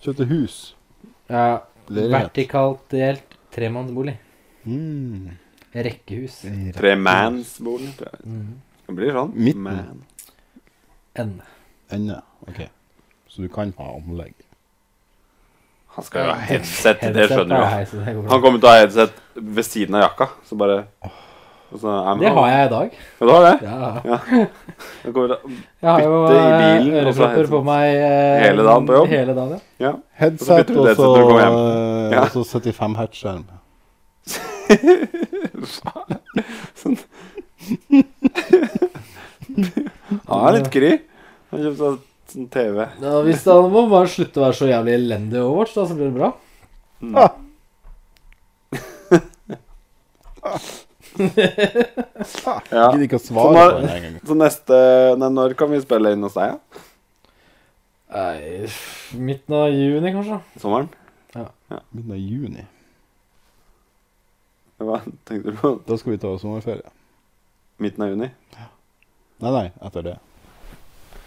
S4: Kjøpte hus.
S3: Ja,
S4: Leilighet.
S3: vertikalt delt tremannsbolig.
S4: Mm.
S3: Rekkehus.
S2: Tremansboligen, tror jeg.
S3: Mhm.
S2: Det blir sånn.
S4: Midten.
S2: Man.
S3: N.
S4: Ende. Ok. Så du kan ha anlegg.
S2: Han skal jo ha headset, det
S3: Headset er
S2: skjønner du jo.
S3: hei, så det går bra.
S2: Han kommer til å ha headset ved siden av jakka, så bare og så er
S3: Det har jeg i dag.
S2: Ja, du har det?
S3: Ja.
S2: Han kommer til å
S3: Jeg har jo
S2: Bytte i bilen,
S3: eh,
S2: og så
S3: ørepropper på meg
S2: headset.
S3: eh,
S2: Hele dagen på jobb?
S3: Hele dagen, ja.
S2: Ja.
S4: Headset
S2: bytter du
S4: og
S2: det
S4: så
S2: til du kommer hjem.
S4: eh,
S2: Ja.
S4: og så 75 hertz-skjerm.
S2: Sånn. Han er litt gry. Han kjøpte seg sånn TV.
S3: ja. Hvis da må man bare slutte å være så jævlig elendig i Overwatch, da, så blir det bra.
S2: Ja.
S4: Gidder ikke å
S2: Så
S4: svare
S2: når-
S4: på den engang.
S2: Så neste Nei, når kan vi spille inn hos deg? Ja?
S3: Nei, f- Midten av juni, kanskje.
S2: Sommeren?
S4: Midten av juni.
S2: Hva tenkte du på?
S4: Da skal vi ta sommerferie.
S2: Midten av juni?
S4: Nei, nei, etter det.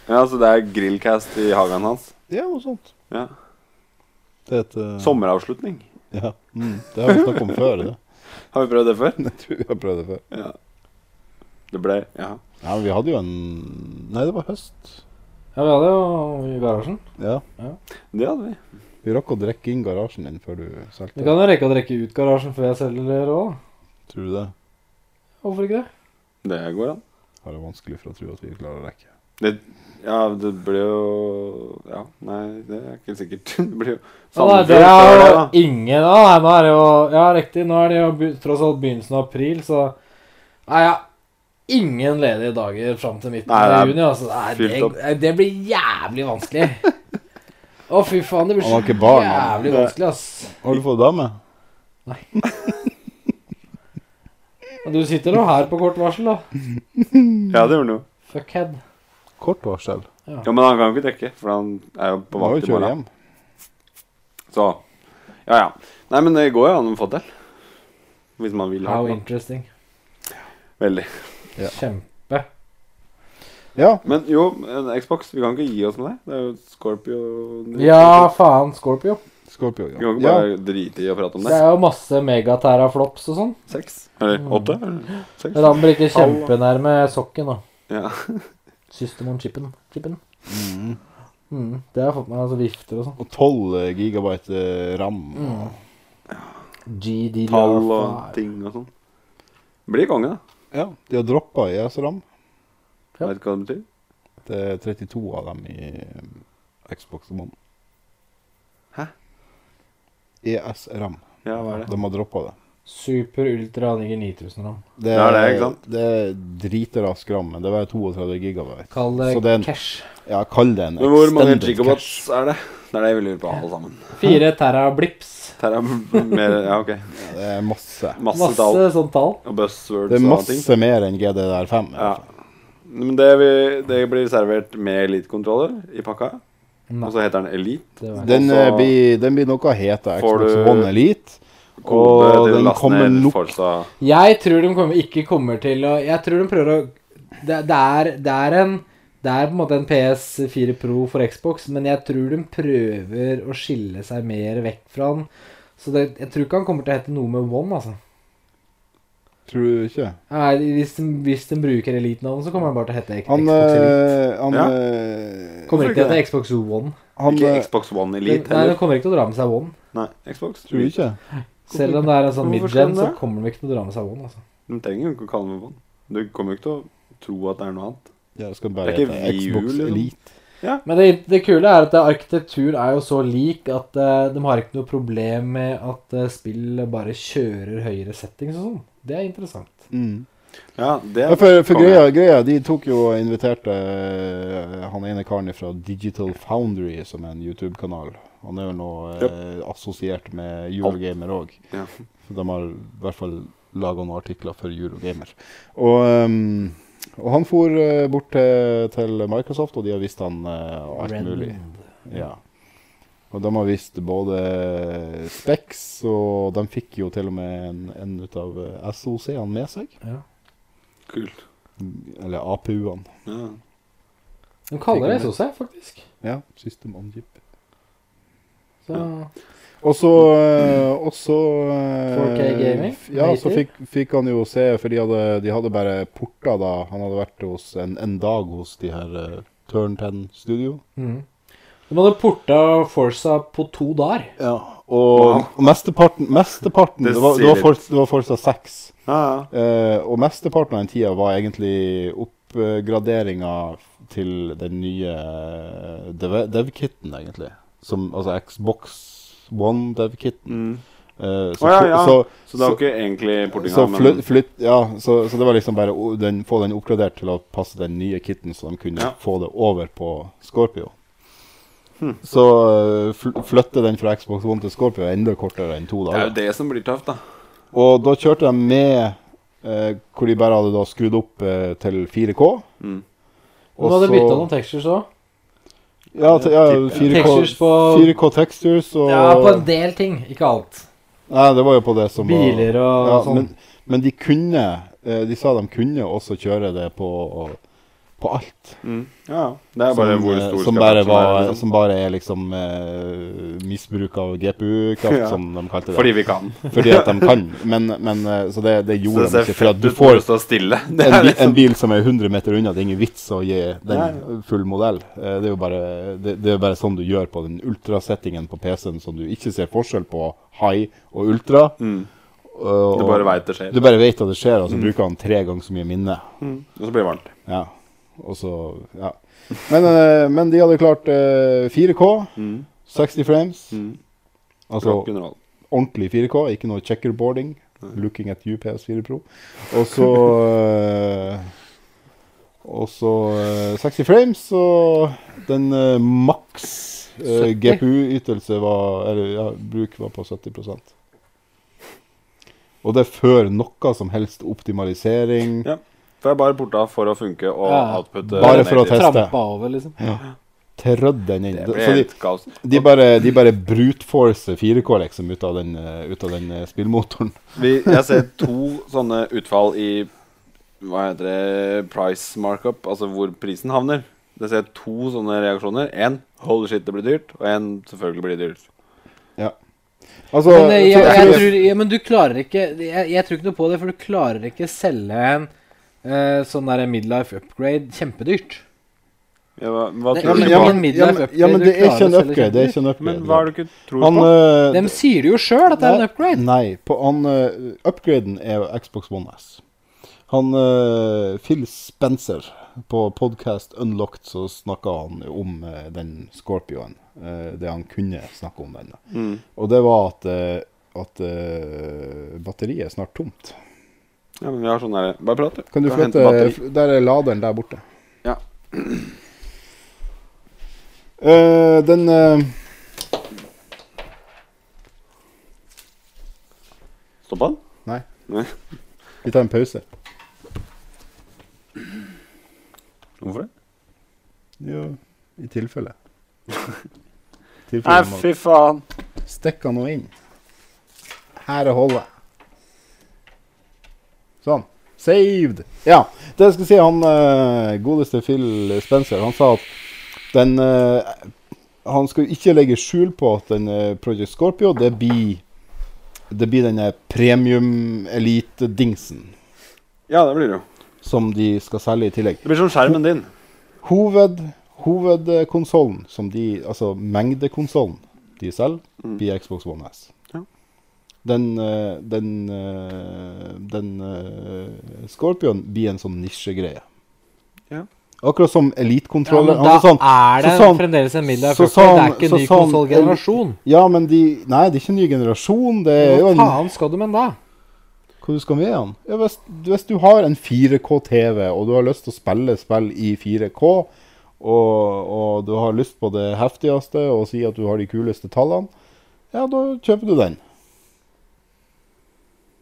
S2: Ja, så det er grillcast i hagen hans.
S4: Ja, noe sånt.
S2: Ja.
S4: Det er et, eh,
S2: Sommeravslutning.
S4: Ja. Mm. Det har vi snakket om før. Det.
S2: Har vi prøvd det før?
S4: Jeg tror vi har prøvd det før.
S2: Ja. Det ble Ja.
S4: Ja, men vi hadde jo en Nei, det var høst.
S3: Ja, vi hadde jo i garasjen.
S4: Ja.
S2: Det hadde vi.
S4: Vi rakk å drikke inn garasjen din før du solgte.
S3: Vi kan jo rekke å drikke ut garasjen før jeg selger òg.
S4: Tror du det?
S3: Hvorfor ikke det?
S2: Det går an.
S4: Har jeg vanskelig for å tro at vi klarer å rekke.
S2: Det, ja, det blir jo Ja, nei, det er ikke sikkert. Det blir jo
S3: Ja, nei,
S2: Sandefjord
S3: det
S2: før
S3: er
S2: det,
S3: jo
S2: da.
S3: ingen da. Nei, nå er det jo Ja, riktig. Nå er det jo be- tross alt begynnelsen av april, så Nei, ja. Ingen ledige dager fram til midten
S2: Nei, det
S3: av
S2: er
S3: juni. Altså. Nei,
S2: fylt opp.
S3: det, nei, det blir jævlig vanskelig. Å, fy faen. Det blir
S4: Han
S3: så
S4: har ikke barn, han.
S3: jævlig vanskelig, ass.
S4: Har du fått dame?
S3: Men du sitter nå her på kort varsel, da.
S2: Ja, det gjorde han jo.
S3: Fuckhead.
S4: Kort varsel.
S2: Ja, men han kan jo ikke drikke, for han er jo på
S4: Må jo
S2: vakt i
S4: kjøre
S2: morgen.
S4: hjem.
S2: Så ja, ja. Nei, men det går jo an å få til. Hvis man vil ha
S3: How
S2: det.
S3: interesting.
S2: da. Veldig.
S4: Ja.
S3: Kjempe.
S4: Ja.
S2: Men jo, en Xbox, vi kan ikke gi oss med det. Det er jo Scorpio
S3: Ja, faen. Scorpio.
S4: Scorpio.
S2: Vi
S4: Ja.
S2: kan ikke
S4: ja.
S2: bare drite i å prate om
S3: Det
S2: det.
S3: er jo masse megateraflops og sånn.
S2: Seks? Eller åtte? Eller seks?
S3: Men han blir ikke kjempenærme sokken, da.
S2: Ja.
S3: System on chipen. chipen. Mm, det har jeg fått med meg altså vifter og sånn.
S4: Og 12 gigabyte eh, ram.
S2: Mm.
S3: GD
S2: Tall og ting og sånn. Blir konge, da.
S4: Ja. De har droppa IS-ram.
S3: Ja.
S2: Vet du hva det betyr?
S4: Det er 32 av dem i eh, Xbox One.
S2: Hæ?
S4: ES-ram.
S2: Ja, hva er det?
S4: De har droppa det.
S3: Super Ultra Niger 9000 ram.
S4: Det
S2: Ja, det er ikke sant?
S4: Det er dritrask ram, men det var 32 gigabyte.
S3: Kall det,
S4: Så det er en,
S3: cash.
S4: ja, kall det en
S2: Men hvor mange
S4: extended
S2: gigabots
S4: cache.
S2: er det? Det er det jeg vil lure på, alle sammen.
S3: Fire terra blips.
S2: Her er mer Ja, ok.
S4: Ja, Det er masse.
S2: Masse
S3: Masse
S2: tall
S3: sånn tall.
S2: og buzzwords
S4: Det er
S2: og ting.
S4: masse mer enn GDR5. i hvert
S2: Ja.
S4: fall.
S2: Men det, vi- det blir servert med elite-kontroller i pakka.
S3: Nei,
S2: Og så heter den Elite.
S3: det var
S4: Den,
S2: Og så
S4: eh, blir, den blir noe heta
S2: får
S4: Xbox
S2: du
S4: One Elite.
S2: Kode
S4: Og
S2: til å
S4: den
S2: laste
S4: kommer
S2: ned
S4: nok-
S2: Forza.
S3: Jeg tror de kommer, ikke kommer til å Jeg tror de prøver å det, det, er, det er en Det er på en måte en PS4 Pro for Xbox, men jeg tror de prøver å skille seg mer vekk fra den. Så det, jeg tror ikke han kommer til å hete noe med One, altså.
S4: Tror du ikke?
S3: Nei, hvis den, hvis den bruker Elite-navnet, så kommer den bare til å hete
S4: Han
S3: Xbox Elite.
S4: eh, Han,
S2: Ja.
S4: eh,
S3: Kommer ikke til å
S2: hvorfor
S3: hete Xbox One.
S4: han
S2: ikke
S4: eh,
S2: Xbox One
S3: Den,
S2: Elite
S3: nei, den
S2: heller.
S3: kommer ikke til å dra med seg One.
S2: Nei, Xbox.
S4: Tror du ikke?
S3: Selv om det er en sånn
S2: Hvorfor
S3: midgen,
S2: skal den
S3: så
S2: det?
S3: kommer de ikke til å dra med seg One. altså.
S2: De trenger jo ikke å kalle den for One. Du kommer jo ikke til å tro at det er noe annet.
S4: Ja, det skal bare
S2: Det er ikke
S4: hete
S2: vi,
S4: Xbox
S2: liksom.
S4: Elite.
S3: Men det, det kule er at eh, arkitektur er jo så lik at eh, de har ikke noe problem med at eh, spill bare kjører høyere settings og sånn. Det er interessant.
S4: Mm.
S2: Ja, det
S4: Ja, for for
S2: konge.
S4: greia, greia, de tok jo og inviterte eh, han ene karen fra Digital Foundry, som er en YouTube-kanal. Han er jo nå eh, assosiert med Eurogamer òg.
S2: Ja.
S4: De har i hvert fall laga noen artikler for Eurogamer. Og, ehm, og han for eh, bort til, til Microsoft, og de har vist han eh, alt
S3: Rend.
S4: mulig. Ja. Og de har vist både Specs, og de fikk jo til og med en, en ut av eh, SOC-ene med seg.
S3: Ja.
S2: Kult.
S4: Eller APU-ene.
S2: Ja.
S3: De kaller det SOC, faktisk.
S4: Ja, System on Chip.
S3: Så,
S4: Og så eh, og så, eh,
S3: 4K gaming?
S4: f- Ja, så
S3: 80?
S4: fikk, fikk han jo se, for de hadde, de hadde bare porta da. Han hadde vært hos en, en dag hos de her eh, Turn 10 Studio.
S3: mm. De hadde porta Forsa på to dager.
S4: Ja, og og mesteparten, mesteparten
S2: Det
S4: det, var,
S2: sier
S4: det, var
S2: litt.
S4: Forza, det var Forza 6.
S2: ja, ja.
S4: Eh, og mesteparten av den tida var egentlig oppgraderinga til den nye eh, dev- dev-kitten, egentlig. Som, altså Xbox One dev-kitten.
S2: Mm.
S4: Eh, så,
S2: Å, ja, ja.
S4: så,
S2: Så det er jo ikke egentlig portinga,
S4: så
S2: men
S4: flytt, flytt, ja, så, så det var liksom bare å- den, få den oppgradert til å passe den nye kitten, så de kunne
S2: Ja.
S4: få det over på Scorpio.
S2: Hm.
S4: Så eh, fl flytte den fra Xbox One til Scorpio er enda kortere enn to
S2: det er
S4: dager.
S2: jo det som blir tøft, da.
S4: Og da kjørte de med eh, hvor de bare hadde da skrudd opp eh, til 4K.
S2: Mm.
S3: De hadde bytta noen textures òg.
S4: ja, te- ja, 4K,
S3: Textures på-
S4: 4K textures og
S3: Ja, på en del ting. Ikke alt.
S4: Nei, det var jo på det som
S3: Biler og
S4: var ja,
S3: sånn.
S4: men, men de kunne eh, De sa de kunne også kjøre det på, på alt.
S2: Mm. Ja, ja. Det er bare
S4: som,
S2: hvor
S4: eh,
S2: stor
S4: som, bare
S2: skapelsen
S4: var,
S2: er, liksom.
S4: som bare er liksom eh, misbruk av GPU-kraft,
S2: Ja.
S4: som de kalte det.
S2: Fordi vi kan.
S4: Fordi at de kan. Men, men eh, så det, det
S2: Så
S4: gjorde
S2: det
S4: de
S2: ser
S4: ikke. For
S2: fett
S4: at du
S2: ut når
S4: får
S2: du står stille. Det
S4: en,
S2: er
S4: bi-
S2: liksom
S4: en bil som er 100 meter unna, det er ingen vits å gi
S2: Nei.
S4: den full modell. Eh, Det er jo bare, det, det er bare sånn du gjør på den ultrasettingen på PC-en som du ikke ser forskjell på high og ultra.
S2: Mm.
S4: Og-
S2: Du bare vet det skjer.
S4: Du bare vet at det skjer, og så bruker han tre ganger så mye minne.
S2: Mm. Og så blir det varmt.
S4: Ja. Og så Ja. Men, eh, men de hadde klart eh, 4K,
S2: Mm.
S4: 60 frames.
S2: Mm. Rock
S4: Altså
S2: and roll.
S4: ordentlig 4K, ikke noe checkerboarding. Looking at you, PS4 Pro. Og så eh, Og så eh, 60 frames, og den eh, maks eh,
S3: 70.
S4: GPU-ytelse var Eller ja, bruk var på 70 Og det er før noe som helst optimalisering.
S2: Ja. For jeg bare porta for å funke og
S3: Ja.
S2: outputte
S4: Bare for å
S2: negativt.
S4: teste.
S3: Trampa over, liksom.
S4: Trødd den inn.
S2: Det
S4: Så
S2: ble
S4: de-
S2: helt kaos.
S4: De bare, de bare brute-forcer 4K liksom ut av den, eh, ut av den eh, spillmotoren.
S2: Vi, jeg ser to sånne utfall i Hva heter det price markup, altså hvor prisen havner. Det ser jeg to sånne reaksjoner. Én holy shit, det blir dyrt. Og én selvfølgelig blir det dyrt.
S4: Altså,
S3: Men, eh, jeg,
S4: så-
S3: jeg,
S4: så-
S3: tror, ja, men du klarer ikke jeg, jeg tror ikke noe på det, for du klarer ikke selge en eh, sånn der midlife upgrade kjempedyrt.
S2: Ja, hva, hva
S3: Det-
S4: ja,
S2: tror
S4: men,
S2: du
S4: ja,
S2: på?
S4: men, ja, men, ja, men det er ikke en upgrade. Det er ikke en
S2: Men
S4: upgrade.
S2: hva er det du ikke tror
S4: Han,
S2: på?
S4: eh,
S3: De sier det jo sjøl at det er en upgrade.
S4: Nei, nei, på han, eh, upgraden er jo Xbox One S. Han eh, Phil Spencer på podcast Unlocked så snakka han om eh, den Scorpioen. eh, det han kunne snakke om den. da.
S2: Mm.
S4: Og det var at, eh, at eh, batteriet er snart tomt.
S2: Ja, men vi har sånn der Bare prat, du.
S4: Kan du
S2: Skal hente
S4: flytte
S2: batteri.
S4: f- Der er laderen der borte.
S2: Ja.
S4: Eh, den eh,
S2: Stoppa den?
S4: Nei.
S2: Nei.
S4: Vi tar en pause.
S2: Hvorfor det?
S4: Ja, i tilfelle.
S2: Nei,
S4: tilfelle man-
S2: fy faen.
S4: Stikk han nå inn. Her er holdet. Sånn. Saved. Ja, det jeg skal si, han eh, godeste Phil Spencer, han sa at den eh, Han skulle ikke legge skjul på at den eh, Project Scorpio, det blir det blir denne premium-elite-dingsen
S2: Ja, det blir det jo.
S4: som de skal selge i tillegg.
S2: Det blir som skjermen din.
S4: Hoved, hovedkonsollen, som de, altså mengdekonsollen de selger,
S2: Mm.
S4: blir Xbox One S.
S2: Ja.
S4: Den, eh, den, eh, den eh, Scorpion blir en sånn nisjegreie.
S2: Ja.
S4: Akkurat som
S3: Ja, men
S4: elitekontroller.
S3: da
S4: altså sånn,
S3: er det
S4: så sånn-
S3: fremdeles en midlife
S4: så
S3: upgrade. det er
S4: sånn-
S3: ikke en
S4: så
S3: ny
S4: sånn-
S3: konsollgenerasjon.
S4: ja, men de Nei, det er ikke en ny generasjon. Det er jo
S3: Hva
S4: en
S3: faen skal du med den da?
S4: Hva du skal med den? Ja, hvis, hvis du har en 4K-TV, og du har lyst til å spille spill i 4K, og, og du har lyst på det heftigste, og sier at du har de kuleste tallene, ja, da kjøper du den.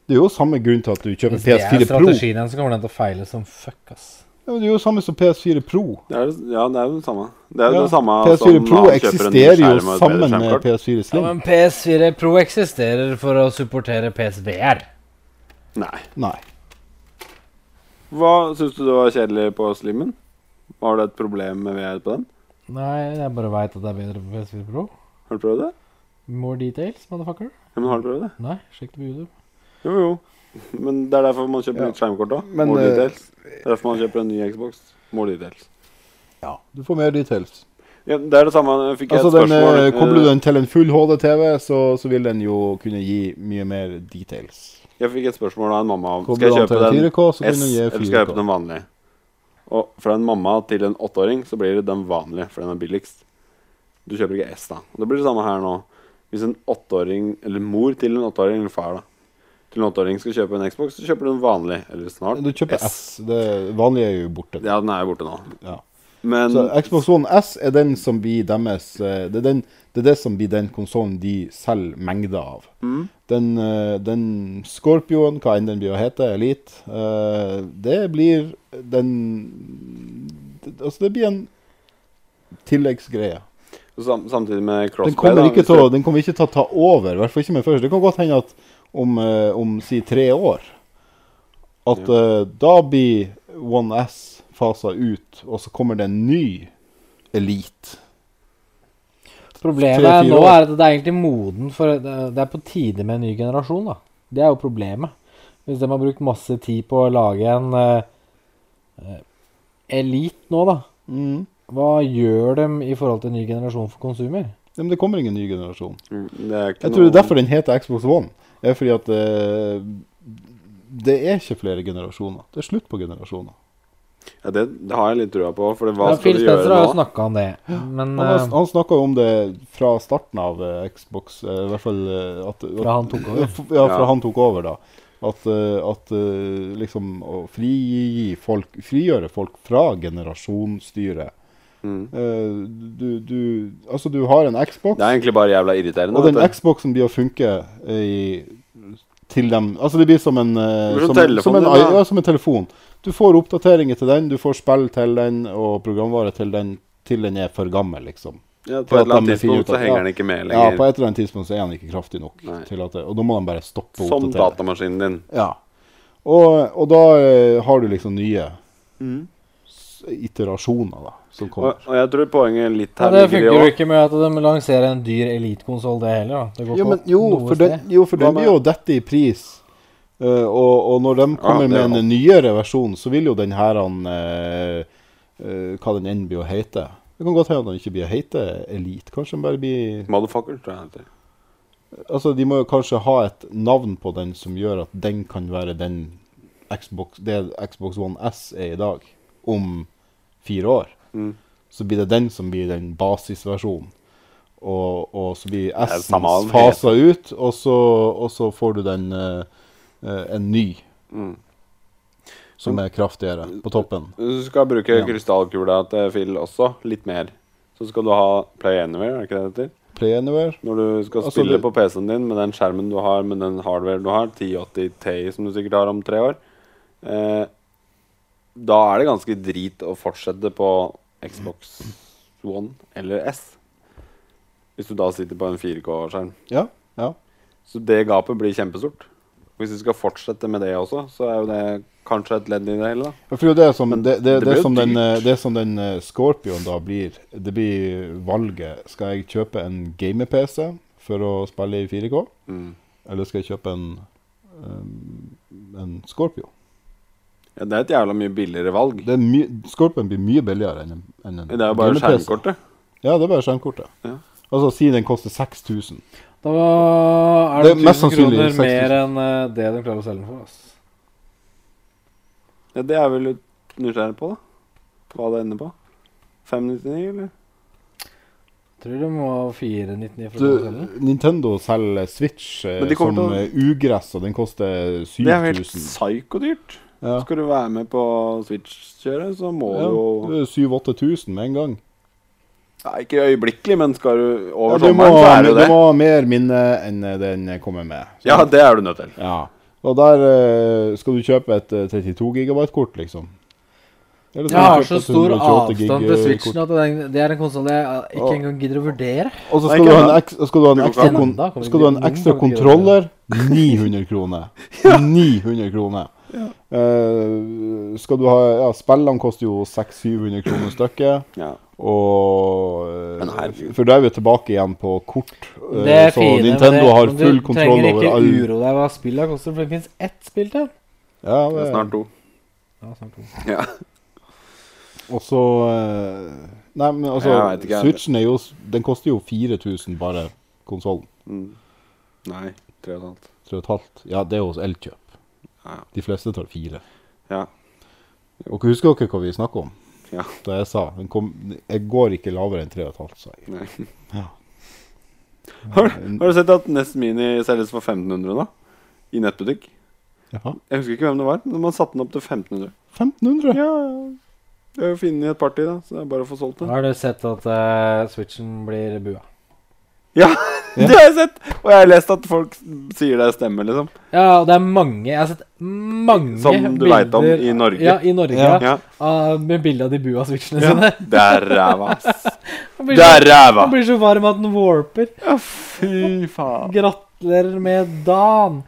S4: Det er jo samme grunn til at du kjøper
S3: Hvis det er
S4: PS4 Pro. Ja,
S3: strategien så kommer den til å feile som fuck, ass.
S4: men det er jo samme som PS4 Pro.
S2: Det er, ja, det er jo det samme. Det er jo
S4: Ja,
S2: det samme
S4: PS4
S2: som
S4: Pro
S2: man kjøper en
S4: eksisterer jo
S2: skjerm og et bedre
S4: sammen med
S2: skjermkort.
S4: PS4
S3: Ja,
S4: Slim.
S3: men PS4 Pro eksisterer for å supportere PSVR.
S2: Nei.
S4: Nei.
S2: Hva syns du det var kjedelig på slimmen? Var det et problem med VR på den?
S3: Nei, jeg bare veit at det er bedre på PS4 Pro.
S2: Har du prøvd det?
S3: More details, motherfucker.
S2: Ja, men har du prøvd det?
S3: Nei, sjekk det på YouTube.
S2: Jo, jo. Men det er derfor man kjøper
S4: Ja.
S2: nytt skjermkort òg.
S4: Men,
S2: More
S4: eh,
S2: details. Det er derfor man kjøper en ny Xbox. More details.
S4: Ja, du får mer details.
S2: Ja, det er det samme. Jeg fikk
S4: Altså,
S2: et
S4: den,
S2: spørsmål.
S4: eh, kobler du
S2: eh,
S4: den til en full HD-TV, så, så vil den jo kunne gi mye mer details.
S2: Jeg fikk et spørsmål av en mamma om skal
S4: Kobler
S2: jeg
S4: han
S2: kjøpe
S4: til en
S2: den
S4: 4K, så
S2: S
S4: kan du gi
S2: eller skal jeg kjøpe
S4: 4K.
S2: den vanlige. Og fra en mamma til en åtteåring så blir det den vanlige, for den er billigst. Du kjøper ikke S, da. Og det blir det samme her nå. Hvis en åtteåring, eller mor til en åtteåring, eller far, da, til en åtteåring skal kjøpe en Xbox, så kjøper du den vanlig, eller snart
S4: Du kjøper S. Det vanlige er jo borte.
S2: Ja, den er jo borte nå.
S4: Ja.
S2: Men
S4: Så Xbox One S er den som blir deres eh, Det er, den, det, er det som blir den konsollen de selger mengder av.
S2: mm,
S4: Den, eh, den Scorpioen, hva enn den blir å hete, Elite, eh, det blir den det, Altså, det blir en tilleggsgreie.
S2: sam samtidig med
S4: Den
S2: Crossplay
S4: kommer,
S2: da,
S4: ikke
S2: hvis
S4: til,
S2: du-
S4: å- den kommer ikke til å ta over, i hvert fall ikke med første. Det kan godt hende at om, eh, om si tre år At eh, da blir One S fasa ut, og så kommer det en ny elite.
S3: Problemet
S4: Tre-fire
S3: nå
S4: år.
S3: er at det er egentlig moden for Det det er på tide med en ny generasjon, da. Det er jo problemet. Hvis de har brukt masse tid på å lage en eh, eh, elit nå, da.
S2: Mm.
S3: Hva gjør de i forhold til en ny generasjon for konsumer?
S4: Ja, men det kommer ingen ny generasjon.
S2: Mm, Det er ikke
S4: Jeg tror det er
S2: noe-
S4: derfor den heter Xbox One. Det er fordi at eh, det er ikke flere generasjoner. Det er slutt på generasjoner.
S2: ja, det, det har jeg litt trua på, for hva
S3: Ja,
S2: skal
S3: Phil
S2: du
S3: Spencer har jo
S2: gjøre nå?
S3: snakka om det, men
S4: Han, har-
S3: eh,
S4: han snakka jo om det fra starten av eh, Xbox, eh, i hvert fall eh, at, at
S3: fra han tok
S4: Ja,
S3: over
S4: f- Ja, fra
S2: Ja.
S4: han tok over, da. At, eh, at eh, liksom å frigi folk, frigjøre folk fra generasjonsstyret.
S2: Mm.
S4: Eh, du, du Altså, du har en Xbox,
S2: Det er egentlig bare jævla irriterende.
S4: og den
S2: vet du.
S4: Xboxen blir å funke i, til dem Altså, det blir som en eh,
S2: Det blir som
S4: som, en-
S2: telefonen
S4: som, en,
S2: din, da.
S4: ja, som en telefon. Du får oppdateringer til den, du får spill til den, og programvare til den til den er for gammel, liksom.
S2: ja, på
S4: for
S2: et
S4: at
S2: eller annet
S4: de finner ut
S2: tidspunkt så
S4: at-
S2: henger
S4: ja.
S2: den ikke med
S4: Ja, på
S2: lenger.
S4: et eller annet tidspunkt så er den ikke kraftig nok.
S2: Nei.
S4: Til at det, og da må de bare stoppe å
S2: Som
S4: oppdatere.
S2: datamaskinen din.
S4: Ja. Og, og da eh, har du liksom nye Mm. s- iterasjoner da, som
S2: Og,
S4: kommer.
S2: og jeg tror poenget litt
S3: ja,
S2: her
S3: Det
S2: ligger i
S3: funker jo
S2: også-
S3: ikke med at de lanserer en dyr elitekonsoll, det heller. da. Det går
S4: Jo,
S3: ikke
S4: men, jo,
S3: noe
S4: for
S3: sted.
S4: den, jo, for
S2: Hva
S4: den
S2: med-
S4: vil jo dette i pris. Eh, og, og når de kommer
S2: det er
S4: med en nyere versjon, så vil jo den her han, eh, eh, Hva den enn blir å hete. Det kan godt hende at den ikke blir å hete Elite. Kanskje den bare blir
S2: Motherfucker, tror jeg det heter.
S4: Altså, de må jo kanskje ha et navn på den som gjør at den kan være den Xbox, det Xbox One S er i dag, om fire år.
S2: Mm.
S4: Så blir det den som blir den basisversjonen. Og, og så blir
S2: er
S4: S
S2: samme hva den
S4: fasa ut, og så, og så får du den eh, eh, en ny
S2: Mm.
S4: som er kraftigere på toppen.
S2: Du skal bruke
S4: Ja.
S2: krystallkula til Phil også, litt mer. Så skal du ha Play Anywhere, er ikke det det heter?
S4: Play anywhere.
S2: Når du skal
S4: Altså,
S2: spille
S4: det-
S2: på PC-en din med den skjermen du har, med den hardware du har, 1080 Ti som du sikkert har om tre år, eh, da er det ganske drit å fortsette på Xbox One eller S. Hvis du da sitter på en 4K-skjerm.
S4: Ja. ja.
S2: Så det gapet blir kjempestort. Hvis du skal fortsette med det også, så er jo det kanskje et ledd i det hele, da.
S4: Ja, For det er jo det som, det, det,
S2: det
S4: det
S2: blir jo
S4: som, den,
S2: dyrt.
S4: eh, det som den eh, Scorpion da blir, det blir valget. Skal jeg kjøpe en gamer-PC for å spille i 4K, eller skal jeg kjøpe en, eh, en Scorpio?
S2: Ja, det er et jævla mye billigere valg.
S4: Det er my Scorpion blir mye billigere enn en, enn en
S2: Det er jo bare skjermkortet.
S4: Ja, det er bare skjermkortet.
S2: Ja.
S4: Altså, si den koster 6000.
S3: Da er
S4: Det
S3: det,
S4: er mest
S3: 1000
S4: sannsynlig
S3: kroner
S4: 6000.
S3: mer enn eh, det de klarer å selge den for. ass.
S2: Ja, det er jeg vel litt nysgjerrig på, da. Hva det ender på. 599, eller?
S3: Tror du må ha 499 for
S4: Du,
S3: å selge den.
S4: Nintendo selger Switch eh,
S2: Men de kommer
S4: som
S2: til å-
S4: eh, ugress, og den koster
S2: Det er jo helt
S4: 7000.
S2: psykodyrt.
S4: Ja.
S2: Skal du være med på Switch-kjøret, så må
S4: Ja,
S2: du jo
S4: 7000-8000 med en gang.
S2: Nei, Ikke øyeblikkelig, men skal du
S4: Ja,
S2: over
S4: du må,
S2: sommeren, så er det jo
S4: du
S2: det.
S4: må ha mer minne enn eh, den kommer med. Så-
S2: Ja, det er du nødt til.
S4: ja. Og der eh, skal du kjøpe et eh, 32 gigabyte-kort, liksom. Eller
S3: Jeg
S4: skal du
S3: har
S4: kjøpe
S3: så
S4: et
S3: stor
S4: 128 gig,
S3: avstand til
S4: eh,
S3: Switchen
S4: kort.
S3: at den, det er en konsoll jeg eh, ikke
S4: Åh. Eh,
S3: engang gidder å vurdere.
S4: Og så
S2: Nei,
S4: skal, du
S2: ikke
S4: ha en
S2: ennå.
S4: eks- og skal du ha en
S2: Jo,
S4: ekstra,
S2: ikke
S4: kon
S3: ennå, kommer
S4: skal du ha en
S3: ikke-
S4: ekstra
S3: kommer ikke til å
S4: kontroller. 900 kroner. 900 kroner. Eh, skal du ha ja, Spillene koster jo 600-700 kroner stykket.
S2: Ja.
S4: Og
S2: Men
S4: eh,
S2: herregud.
S4: For da er vi tilbake igjen på kort. eh,
S3: Det er
S4: så
S3: fine,
S4: Nintendo
S3: men det,
S4: har full kontroll
S3: Du
S4: over
S3: trenger
S4: all
S3: ikke uroe deg hva spillet koster, for det fins ett spill til.
S4: Ja, eh,
S2: Det er
S4: det-
S2: snart to.
S3: Ja, snart to.
S2: Ja.
S4: Og så eh, Nei, men altså
S2: Jeg vet ikke, jeg-
S4: Switchen er jo s- Den koster jo 4000 bare konsollen.
S2: Mm. Nei, tre og et halvt.
S4: 3,5. Ja, det er hos Elkjøp.
S2: Ja.
S4: De fleste tar fire.
S2: Ja.
S4: Og husker dere hva vi snakker om?
S2: Ja.
S4: Da jeg sa den kom, Jeg går ikke lavere enn 3,5, sa jeg.
S2: Nei.
S4: Ja.
S2: Har, har du sett at Nest Mini selges for 1500 nå? I nettbutikk?
S4: Jaha.
S2: Jeg husker ikke hvem det var, men man satte den opp til 1500.
S4: 1500?
S2: Ja, jeg har jo funnet et parti, da, så det er bare å få solgt det.
S3: Har du sett at eh, Switchen blir bua?
S2: Ja, det har jeg sett! Og jeg har lest at folk sier det stemmer, liksom.
S3: Ja, og det er mange Jeg har sett mange
S2: Som du vet om i Norge.
S3: Ja, i Norge.
S4: Ja.
S3: Ja.
S2: Ja,
S3: Ah, med bilde av de bua switchene
S2: Ja.
S3: sine.
S2: Det er ræva, ass.
S3: Han blir,
S2: Det er
S3: så,
S2: ræva!
S3: han blir så varm at den warper.
S2: Ja, fy faen.
S3: Gratulerer med dagen!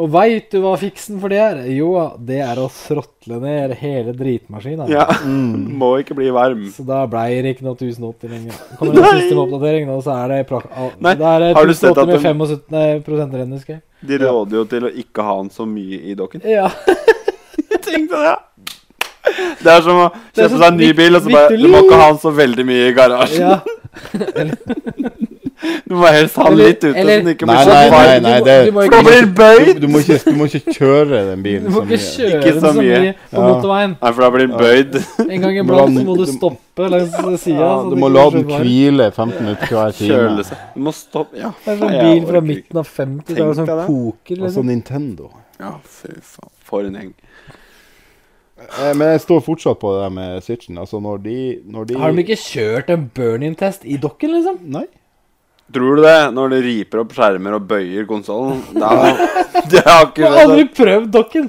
S3: Og veit du hva fiksen for det er? Jo, det er å tråtle ned hele dritmaskina.
S2: Ja. Mm. Må ikke bli varm.
S3: Så da blei det ikke noe 1080 lenger. Kommer det en
S2: Nei.
S3: siste oppdatering nå, så er det prak... al-
S2: Nei,
S3: da er det
S2: har du sett
S3: 1080
S2: at
S3: med 75 prosent ren, husker jeg.
S2: De råder jo til å ikke ha den så mye i dokken.
S3: Ja.
S2: Jeg tenkte det, ja. Det er som å
S3: Det er
S2: kjøpe
S3: så
S2: seg en ny
S3: vikt-
S2: bil, og så bare
S3: viktig
S2: Du må ikke
S3: liv.
S2: ha den så veldig mye i garasjen.
S3: ja.
S2: Du må helst ha den
S3: Eller-
S2: litt ute, så
S3: eller-
S2: den ikke
S4: Nei,
S2: blir så
S4: nei, nei,
S2: varm.
S4: nei
S3: Du må-
S4: det,
S3: du må
S2: For da
S4: du, må
S2: blir
S4: ikke,
S2: den bøyd!
S4: du, må ikke, du må ikke kjøre den
S3: Du
S4: bilen
S3: må
S4: så
S3: ikke
S4: mye.
S3: kjøre
S2: Ikke så
S3: så mye
S2: mye.
S3: på
S4: Ja.
S3: motorveien.
S2: Nei, for da blir den bøyd.
S3: En
S4: Du må
S3: gang
S4: la
S3: iblant
S4: den-
S3: så må du
S4: du-
S3: stoppe langs sida.
S4: Ja, du må la den hvile 15 minutter hver
S2: Kjøle
S4: time.
S2: seg. Du må stoppe Ja,
S3: Det er sånn
S2: jeg
S3: bil fra
S2: orker ikke.
S3: midten av 50
S2: Tenk
S3: det er sånn
S2: deg det.
S3: koker,
S4: Altså
S3: liksom.
S4: Nintendo.
S2: Ja, fy faen. For en gjeng.
S4: Eh, Men jeg står fortsatt på det der med Switchen. Altså, når de, når de
S3: Har de ikke kjørt en burn-in-test i dokken, liksom?
S4: Nei.
S2: Tror du det? Når det riper opp skjermer og bøyer konsollen? Da- Det har
S3: Jeg
S2: ikke
S3: har aldri
S2: skjedd.
S3: prøvd dokken!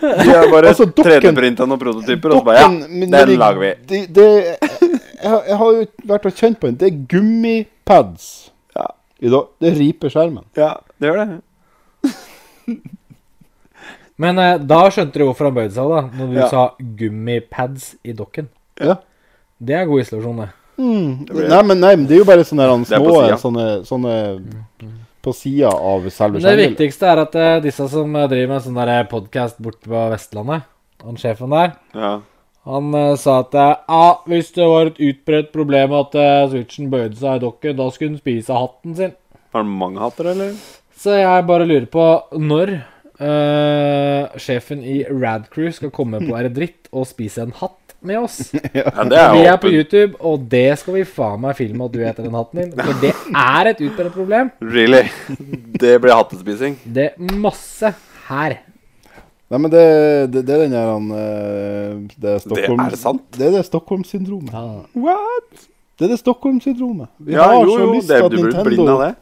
S2: De har bare
S4: Altså, dokken-
S2: 3D-printa noen prototyper, og så bare Ja,
S4: Dokken, men når
S2: den lager vi.
S4: De, de, jeg, har- jeg har jo vært og kjent på den. Det er gummipads.
S2: Ja.
S4: I dag- Det riper skjermen.
S2: Ja, det gjør det.
S3: Men eh, da skjønte du hvorfor han bøyde seg, da. Når du
S2: Ja.
S3: sa gummipads i dokken.
S4: Ja.
S3: Det er god isolasjon, det.
S4: Mm.
S2: blir-
S4: Nei, men nei, men det er jo bare sånne der
S2: Det er
S4: små
S2: på siden.
S4: sånne, sånne på sida av selve
S3: Men det
S4: skjermen.
S3: viktigste er at eh, disse som eh, driver med en sånn podkast borte på Vestlandet, han sjefen der,
S2: Ja.
S3: han eh, sa at eh, ah, hvis det var et utbredt problem at eh, switchen bøyde seg i dokken, da skulle den spise av hatten sin.
S2: Har du mange hatter, eller?
S3: Så jeg bare lurer på når eh, sjefen i Radcrew skal komme på Er det dritt og spise en hatt med oss.
S2: Ja, det er
S3: Vi
S2: jo
S3: er på
S2: åpen.
S3: YouTube, og det skal vi faen meg filme at du heter den hatten din. For det er et utbredt problem.
S2: Really? Det blir hattespising.
S3: Det er masse her.
S4: Nei, men det, det, det er den der han eh, Det er Stockholm
S2: Det er sant.
S4: Det er det Stockholm-syndromet.
S2: What?
S4: Det er det Stockholm-syndromet. Vi
S2: Ja,
S4: har
S2: jo,
S4: så
S2: jo,
S4: lyst
S2: det,
S4: til at
S2: du blir
S4: Nintendo-
S2: blind av det.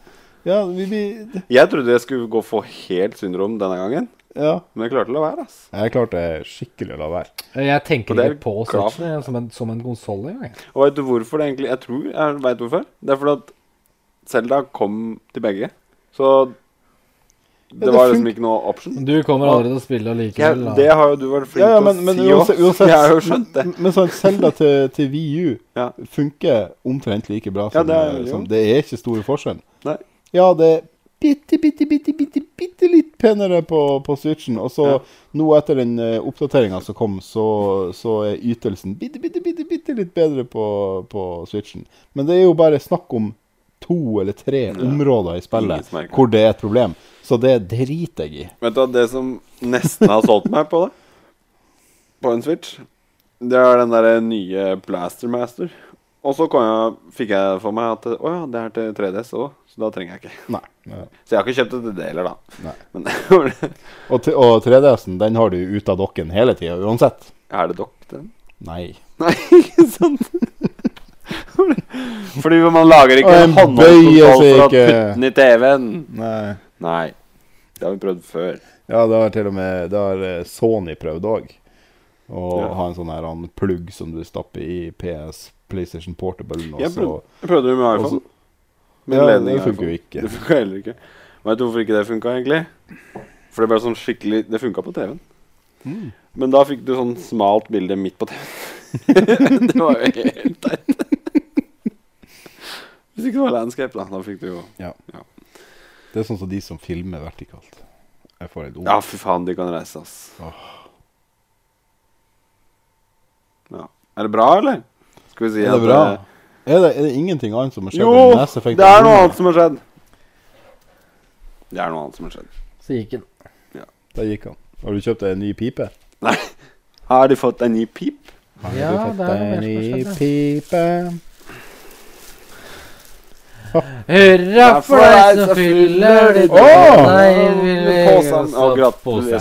S4: Ja, vi blir
S2: Jeg trodde jeg skulle gå for helt syndrom denne gangen,
S4: Ja.
S2: men jeg klarte å la være. ass.
S4: Jeg klarte skikkelig å la være.
S3: Jeg
S2: Og
S3: tenker
S2: det er
S3: ikke på
S2: klart.
S3: Switchen som en, som en konsoll engang.
S2: Og veit du hvorfor det egentlig Jeg tror jeg veit hvorfor. Det er fordi at Selda kom til begge, så
S4: Ja,
S2: det
S4: det
S2: var liksom
S4: funker.
S2: ikke noe option.
S3: Du kommer aldri til å spille
S2: Jeg,
S3: allikevel. da.
S2: det har jo du vært flink
S4: Ja, ja,
S2: til
S4: men,
S2: å
S4: men
S2: si også.
S4: uansett, uansett
S2: Jeg har jo skjønt det.
S4: Men, men sånn Zelda til, til VU
S2: Ja.
S4: funker omtrent like bra som
S2: det er-
S4: eh,
S2: jo.
S4: som Det er ikke store forskjellen.
S2: Nei.
S4: Ja, det er bitte, bitte, bitte, bitte, bitte litt penere på, på Switchen. Og så
S2: Ja.
S4: nå etter den uh, oppdateringa som kom, så, så er ytelsen bitte, bitte, bitte, bitte litt bedre på, på Switchen. Men det er jo bare snakk om to eller tre områder i
S2: Ingen
S4: spillet
S2: som merker.
S4: hvor det er et problem. Så det driter jeg i.
S2: Vet du hva, det som nesten har solgt meg på det, på en Switch, det er den derre nye Blastermaster. Og så kom jeg, fikk jeg for meg at å ja, det er til 3DS òg, så da trenger jeg ikke.
S4: Nei. Ja.
S2: Så jeg har ikke kjøpt det til det heller, da.
S4: Nei.
S2: Men
S4: Og, t- og 3DS-en, den har du ute av dokken hele tida uansett.
S2: er det dokk, den?
S4: Nei.
S2: Nei, ikke sant? Fordi man lager ikke
S4: Og
S2: en
S4: en bøye,
S2: håndholdskontroll for
S4: så
S2: å
S4: ikke-
S2: putte den i TV-en.
S4: Nei.
S2: Nei. Det har vi prøvd før.
S4: Ja, det har til og med det har eh, Sony prøvd òg. Å
S2: Ja.
S4: ha en sånn her han, plugg som du stapper i PS PlayStation Portable. Og
S2: Jeg
S4: så,
S2: prøvde, jeg prøvde det med iPhone.
S4: og så-
S2: Med
S4: Ja,
S2: ledning
S4: det
S2: i
S4: funker jo
S2: iPhone.
S4: ikke.
S2: Det funka heller ikke. Veit du hvorfor ikke det funka, egentlig? For det ble sånn skikkelig Det funka på TV-en.
S4: Hmm.
S2: Men da fikk du sånn smalt bilde midt på TV-en. det var jo helt teit. Hvis ikke det var landscape, da. Da fikk du jo
S4: ja.
S2: Ja.
S4: Det er sånn som de som filmer vertikalt. Jeg får helt ord.
S2: Ja, fy faen, de kan reise, ass. Ja. Er det bra, eller? Skal vi si
S4: er det
S2: at
S4: bra?
S2: eh,
S4: Er det, er det ingenting annet som har skjedd?
S2: Jo!
S4: enn Mass Effect
S2: Det er noe
S4: Andromeda?
S2: annet som har skjedd. Det er noe annet som har skjedd.
S3: Så gikk den.
S4: Der gikk han. Har du kjøpt deg en ny pipe?
S2: Nei, har de fått en ny pip?
S4: Har
S3: Ja,
S4: du fått
S3: det er
S4: deg en
S3: noe mer som har
S4: ny
S3: skjedd,
S4: pipe?
S3: Hurra for deg som fyller ditt
S4: Åh!
S2: Påsen og gratulerer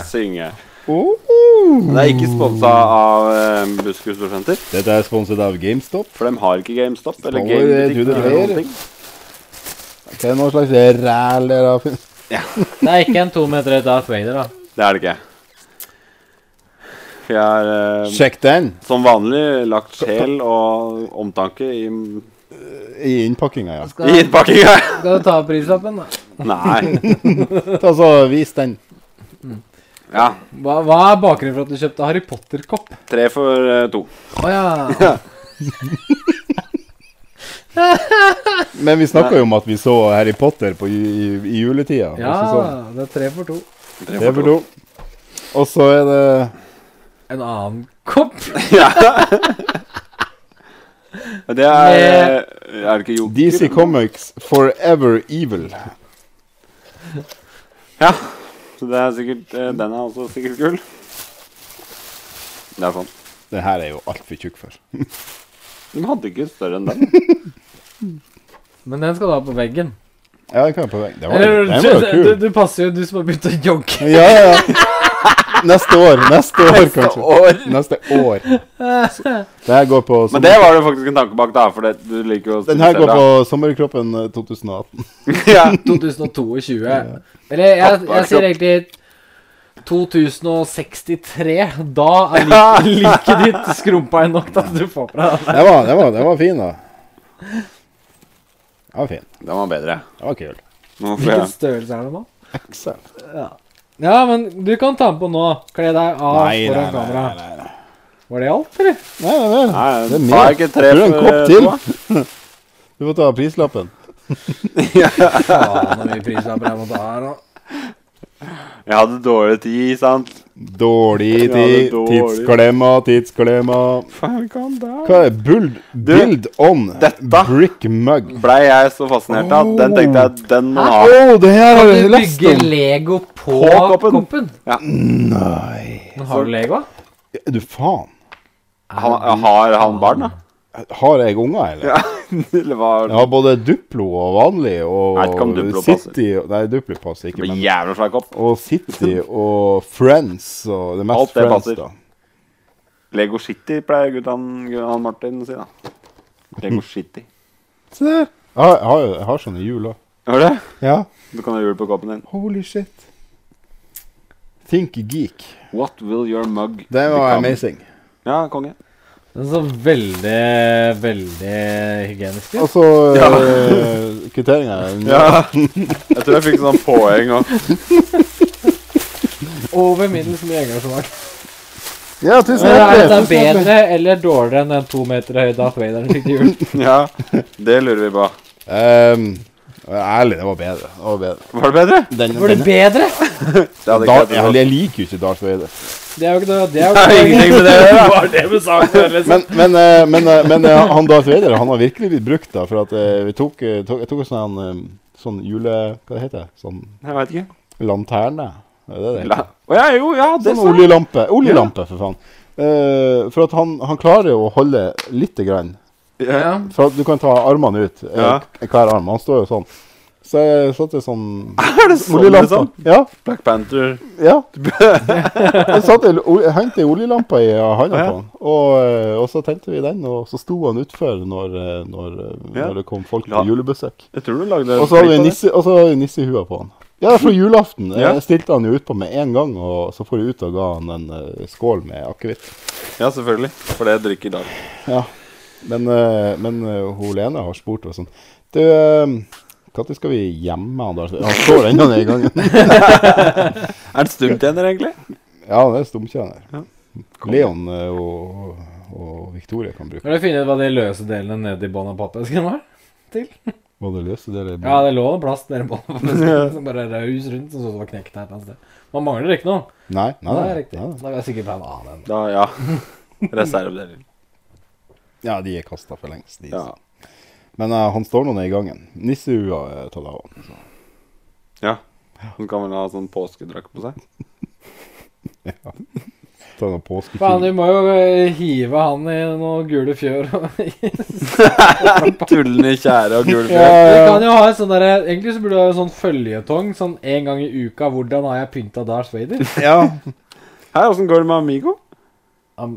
S3: Pose.
S2: synge.
S4: Oh!
S2: Det er ikke sponsa av eh, Buskerud Storsenter,
S4: Dette er sponset av GameStop.
S2: for de har ikke GameStop eller
S4: Står, eh,
S2: Gamebutikk.
S4: Trude
S2: eller noen
S4: Dreyer.
S2: ting.
S4: Det er noe slags ræl dere har funnet.
S3: Det er ikke en to meter høy Darth Vader, da.
S2: Det er det ikke. Vi er eh,
S4: Sjekk den
S2: som vanlig lagt sjel og omtanke i,
S4: i innpakkinga, ja.
S3: Skal,
S2: i innpakkinga.
S3: skal du ta prislappen, da?
S2: Nei.
S4: Ta så Vis den.
S2: Ja.
S3: Hva, hva er bakgrunnen for at du kjøpte Harry Potter-kopp?
S2: Tre for eh, to.
S3: Å ja.
S4: Men vi snakka jo om at vi så Harry Potter på, i, i, i juletida.
S3: ja.
S4: og så sånn.
S3: Det er tre for to.
S2: Tre
S4: Det er for to. Og så er det
S3: En annen kopp.
S2: Ja. Det er
S3: Med-
S2: eh, Er det ikke Joker?
S4: DC Comics Forever Evil.
S2: Ja. Så det er sikkert eh, Den er også sikkert kul. Det er sånn.
S4: Den her er jo altfor tjukk for.
S2: Den hadde ikke større enn den.
S3: Men den skal du ha på veggen.
S4: Ja, den kan jeg på vei. Den var,
S3: Eller,
S4: den var jo kul.
S3: du, du passer jo, du som har begynt å jogge.
S4: Ja, ja. Neste år. Neste år, kanskje.
S2: år.
S4: Neste år. Det her går på
S2: Men det var det faktisk en tanke bak, da. For det, du liker jo å
S4: Den
S2: spille
S4: her går
S2: selv,
S4: på Sommerkroppen eh, 2018.
S2: da. ja.
S3: 2022. Eller jeg, jeg, sier egentlig 2063. Da er liket like ditt skrumpa inn nok til at du får på deg det.
S4: Den var, den var, den var fin, da. Den var fin.
S2: Den var bedre.
S4: Den var kul.
S2: Nå får
S3: Hvilken
S2: jeg
S3: størrelse er det nå?
S4: Excel.
S3: Ja, men du kan ta den på nå. Kle deg av
S4: Nei, nei,
S3: foran
S4: nei.
S3: kamera.
S4: nei, nei, nei.
S3: Var det alt, eller?
S4: Nei, nei, nei.
S2: Nei,
S4: Det er
S2: ta
S4: mer.
S2: ikke tre
S4: Tror du en
S2: for,
S4: kopp
S2: eh,
S4: til? Du må ta prislappen.
S3: Faen, så mye prislapper jeg må ta her nå.
S2: Jeg hadde dårlig tid, sant?
S4: Dårlig
S2: Ja, det er
S4: tid.
S2: dårlig.
S4: Tidsklemma, tidsklemma.
S2: Faen, hva er det?
S4: Hva er det? Build, build on
S2: dette-
S4: brick mug.
S2: Blei jeg så fascinert av at den tenkte jeg at den må
S4: Å,
S2: ha.
S4: det her har
S3: Kan
S4: jeg
S3: du
S4: lest
S3: bygge
S4: om!
S3: Lego på,
S2: På koppen?
S3: koppen?
S4: Nei
S3: Men har du Lego?
S4: Er du faen?
S2: Han, har han barn, da?
S4: Har jeg unger, eller?
S2: Eller hva?
S4: Jeg har både Duplo og vanlig og
S2: Jeg vet ikke om Duplo
S4: City og, Nei, Duplo passer ikke,
S2: Det var
S4: men
S2: jævla svær kopp.
S4: Og City og Friends og det er mest
S2: Alt det
S4: Friends,
S2: passer.
S4: da.
S2: Lego City pleier gutten han Martin å si, da. Lego City.
S4: Se der. Jeg har, jeg har, jeg har sånne hjul òg.
S2: Hører du?
S4: Ja.
S2: Du kan ha hjul på koppen din.
S4: Holy shit. Think geek.
S2: What will your mug
S4: Det var
S2: become?
S4: amazing.
S2: Ja, konge.
S3: Den så veldig, veldig hygienisk ut.
S4: Og så eh, kvitteringa.
S2: Ja. Jeg tror jeg fikk sånn poeng òg.
S3: Over middels mye engasjement.
S4: ja, tusen
S3: Men er sånn dette
S4: hjertelig. tusen hjertelig.
S3: bedre eller dårligere enn den to meter høye Darth Vaderen fikk til jul?
S2: Ja, det lurer vi på.
S4: Ehm, ærlig, det var bedre. Det var bedre.
S2: Var det bedre?
S4: Den,
S3: Var det
S4: den,
S3: bedre?
S2: Det hadde
S4: Darth-
S2: ikke vært
S4: jeg liker jo ikke Darth Vader.
S3: Det er jo ikke noe Det er jo
S2: Det
S3: ikke
S2: er ingenting med det å gjøre.
S3: var det med saken.
S4: Men, men, eh, men, eh, men eh, han Darth Vader han har virkelig blitt brukt. da, for at eh, vi tok, eh, tok, Jeg tok en sånn, eh, sånn jule... Hva det heter det? Sånn
S2: Jeg vet ikke.
S4: lanterne? Er det det det?
S2: La- Å ja, jo, ja, det
S4: Sånn
S2: sa jeg.
S4: oljelampe. Oljelampe, for faen. Eh, for at han, han klarer jo å holde lite grann.
S2: Ja.
S4: For at du kan ta armene ut. eh,
S2: Ja.
S4: k- Hver arm. Han står jo sånn. Så jeg satte sånn
S2: Er det sånn,
S4: oljelampe.
S2: liksom?
S4: Ja,
S2: Black Panther.
S4: ja. Jeg satte, ol- jeg hengte ei oljelampe i handa
S2: Ja.
S4: på han, og, eh, og så tente vi den, og så sto han utfor når, eh, når, eh,
S2: Ja. Eh,
S4: når det kom folk
S2: La-
S4: på julebesøk.
S2: Jeg tror du lagde
S4: Og så hadde
S2: klipp
S4: vi
S2: av det.
S4: nisse, og så hadde vi nissehua på han. Ja, fra julaften.
S2: Ja.
S4: Jeg stilte han jo utpå med en gang, og så for jeg ut og ga han en eh, skål med akevitt.
S2: Ja, selvfølgelig. For det jeg drikker i dag.
S4: Ja. Men, eh, men eh, hun Lene har spurt og sånn Du, når skal vi hjemme han der? Han står ennå nede i gangen.
S2: Er det stumtjener, egentlig?
S4: Ja, han er stumtjener.
S2: Ja.
S4: Leon eh, og, og Victoria kan bruke
S3: Har du funnet ut hva de løse delene nede i bånn av pappesken var?
S4: både løse deler og-
S3: Ja, det lå en plast nede i bånn av pappesken som bare raus rundt, og så var det knekt her et eller annet sted. Man mangler ikke noe.
S4: Nei, nei,
S3: det
S4: nei,
S3: er
S4: nei,
S3: riktig.
S4: nei.
S3: Da vil jeg sikkert pleie å ha Ah, den.
S2: Da, ja. Reservedeler.
S4: Ja, de er kasta for lengst, de.
S2: Ja.
S4: så. Men eh, han står nå nede i gangen. eh, Nissehua er tatt av han. så.
S2: ja. Hun kan vel ha sånn påskedrakt på seg.
S4: Tar noen påskekul.
S3: Faen, du må jo eh, hive han i noen gule fjør. og-
S2: Tullende tjære og gul
S3: Vi
S2: fjell.
S4: Ja,
S3: kan
S4: ja.
S3: jo ha en sånn derre Egentlig så burde du ha en sånn føljetong sånn en gang i uka. Hvordan har jeg pynta Darth Vader?
S2: Hei, åssen går det med Amigo?
S3: Han,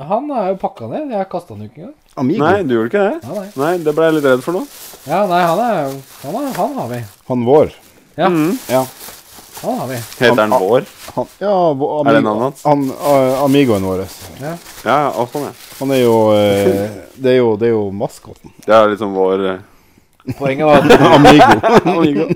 S3: han er jo pakka ned. Jeg kasta han jo ikke engang.
S4: Amigo.
S2: Nei, du gjorde ikke det?
S3: Ja, nei.
S2: Nei, det ble jeg litt redd for nå.
S3: Ja, nei, han er Han, er, han har vi.
S4: Han vår. Mm.
S3: Ja,
S4: Ja.
S3: han har vi.
S2: Heter
S4: Han-
S2: han Vår?
S4: Han, ja, vår
S2: Er det
S4: amigo,
S2: navnet hans?
S4: han, eh, amigoen vår.
S3: Ja.
S2: Ja, ja, å, sånn, ja.
S4: Han er jo, eh, det er jo Det er jo maskoten.
S2: Det er liksom vår eh,
S3: Poenget var at
S4: Amigo.
S2: Amigo.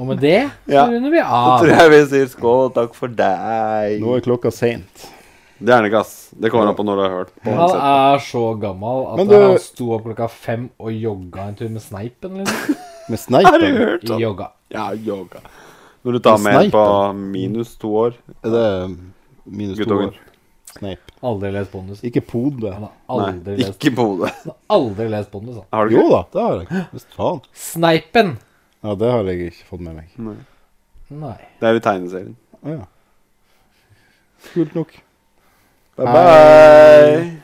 S3: Og med det så
S2: Ja.
S3: runder vi
S2: Da
S3: av.
S2: tror jeg vi sier skål, takk for deg.
S4: Nå er klokka seint.
S2: Det er den ikke, ass. Det kommer an på når du har hørt på.
S3: Han er så gammel at
S4: Men du-
S3: han sto opp klokka fem og jogga en tur med sneipen. Liksom.
S4: Med
S2: Har du
S4: sneipen?
S2: hørt sånn?
S3: Jogga.
S2: Ja, yoga. Når du tar
S4: En
S2: med en
S4: sneip,
S2: på
S4: da.
S2: minus to år
S4: Er det minus to
S2: Guttungen.
S4: år? Sneip.
S3: Aldri lest Bondus.
S4: Ikke pode.
S3: Han har
S2: Nei,
S3: aldri lest,
S2: ikke på hodet.
S3: han har aldri lest Bondus. Han.
S2: Har du
S4: Jo
S2: ikke?
S4: da, det har jeg. Visst faen.
S3: Sneipen!
S4: Ja, det har jeg ikke fått med meg.
S3: Nei.
S2: Det er i tegneserien.
S4: Å ja. Kult nok.
S2: Bye bye.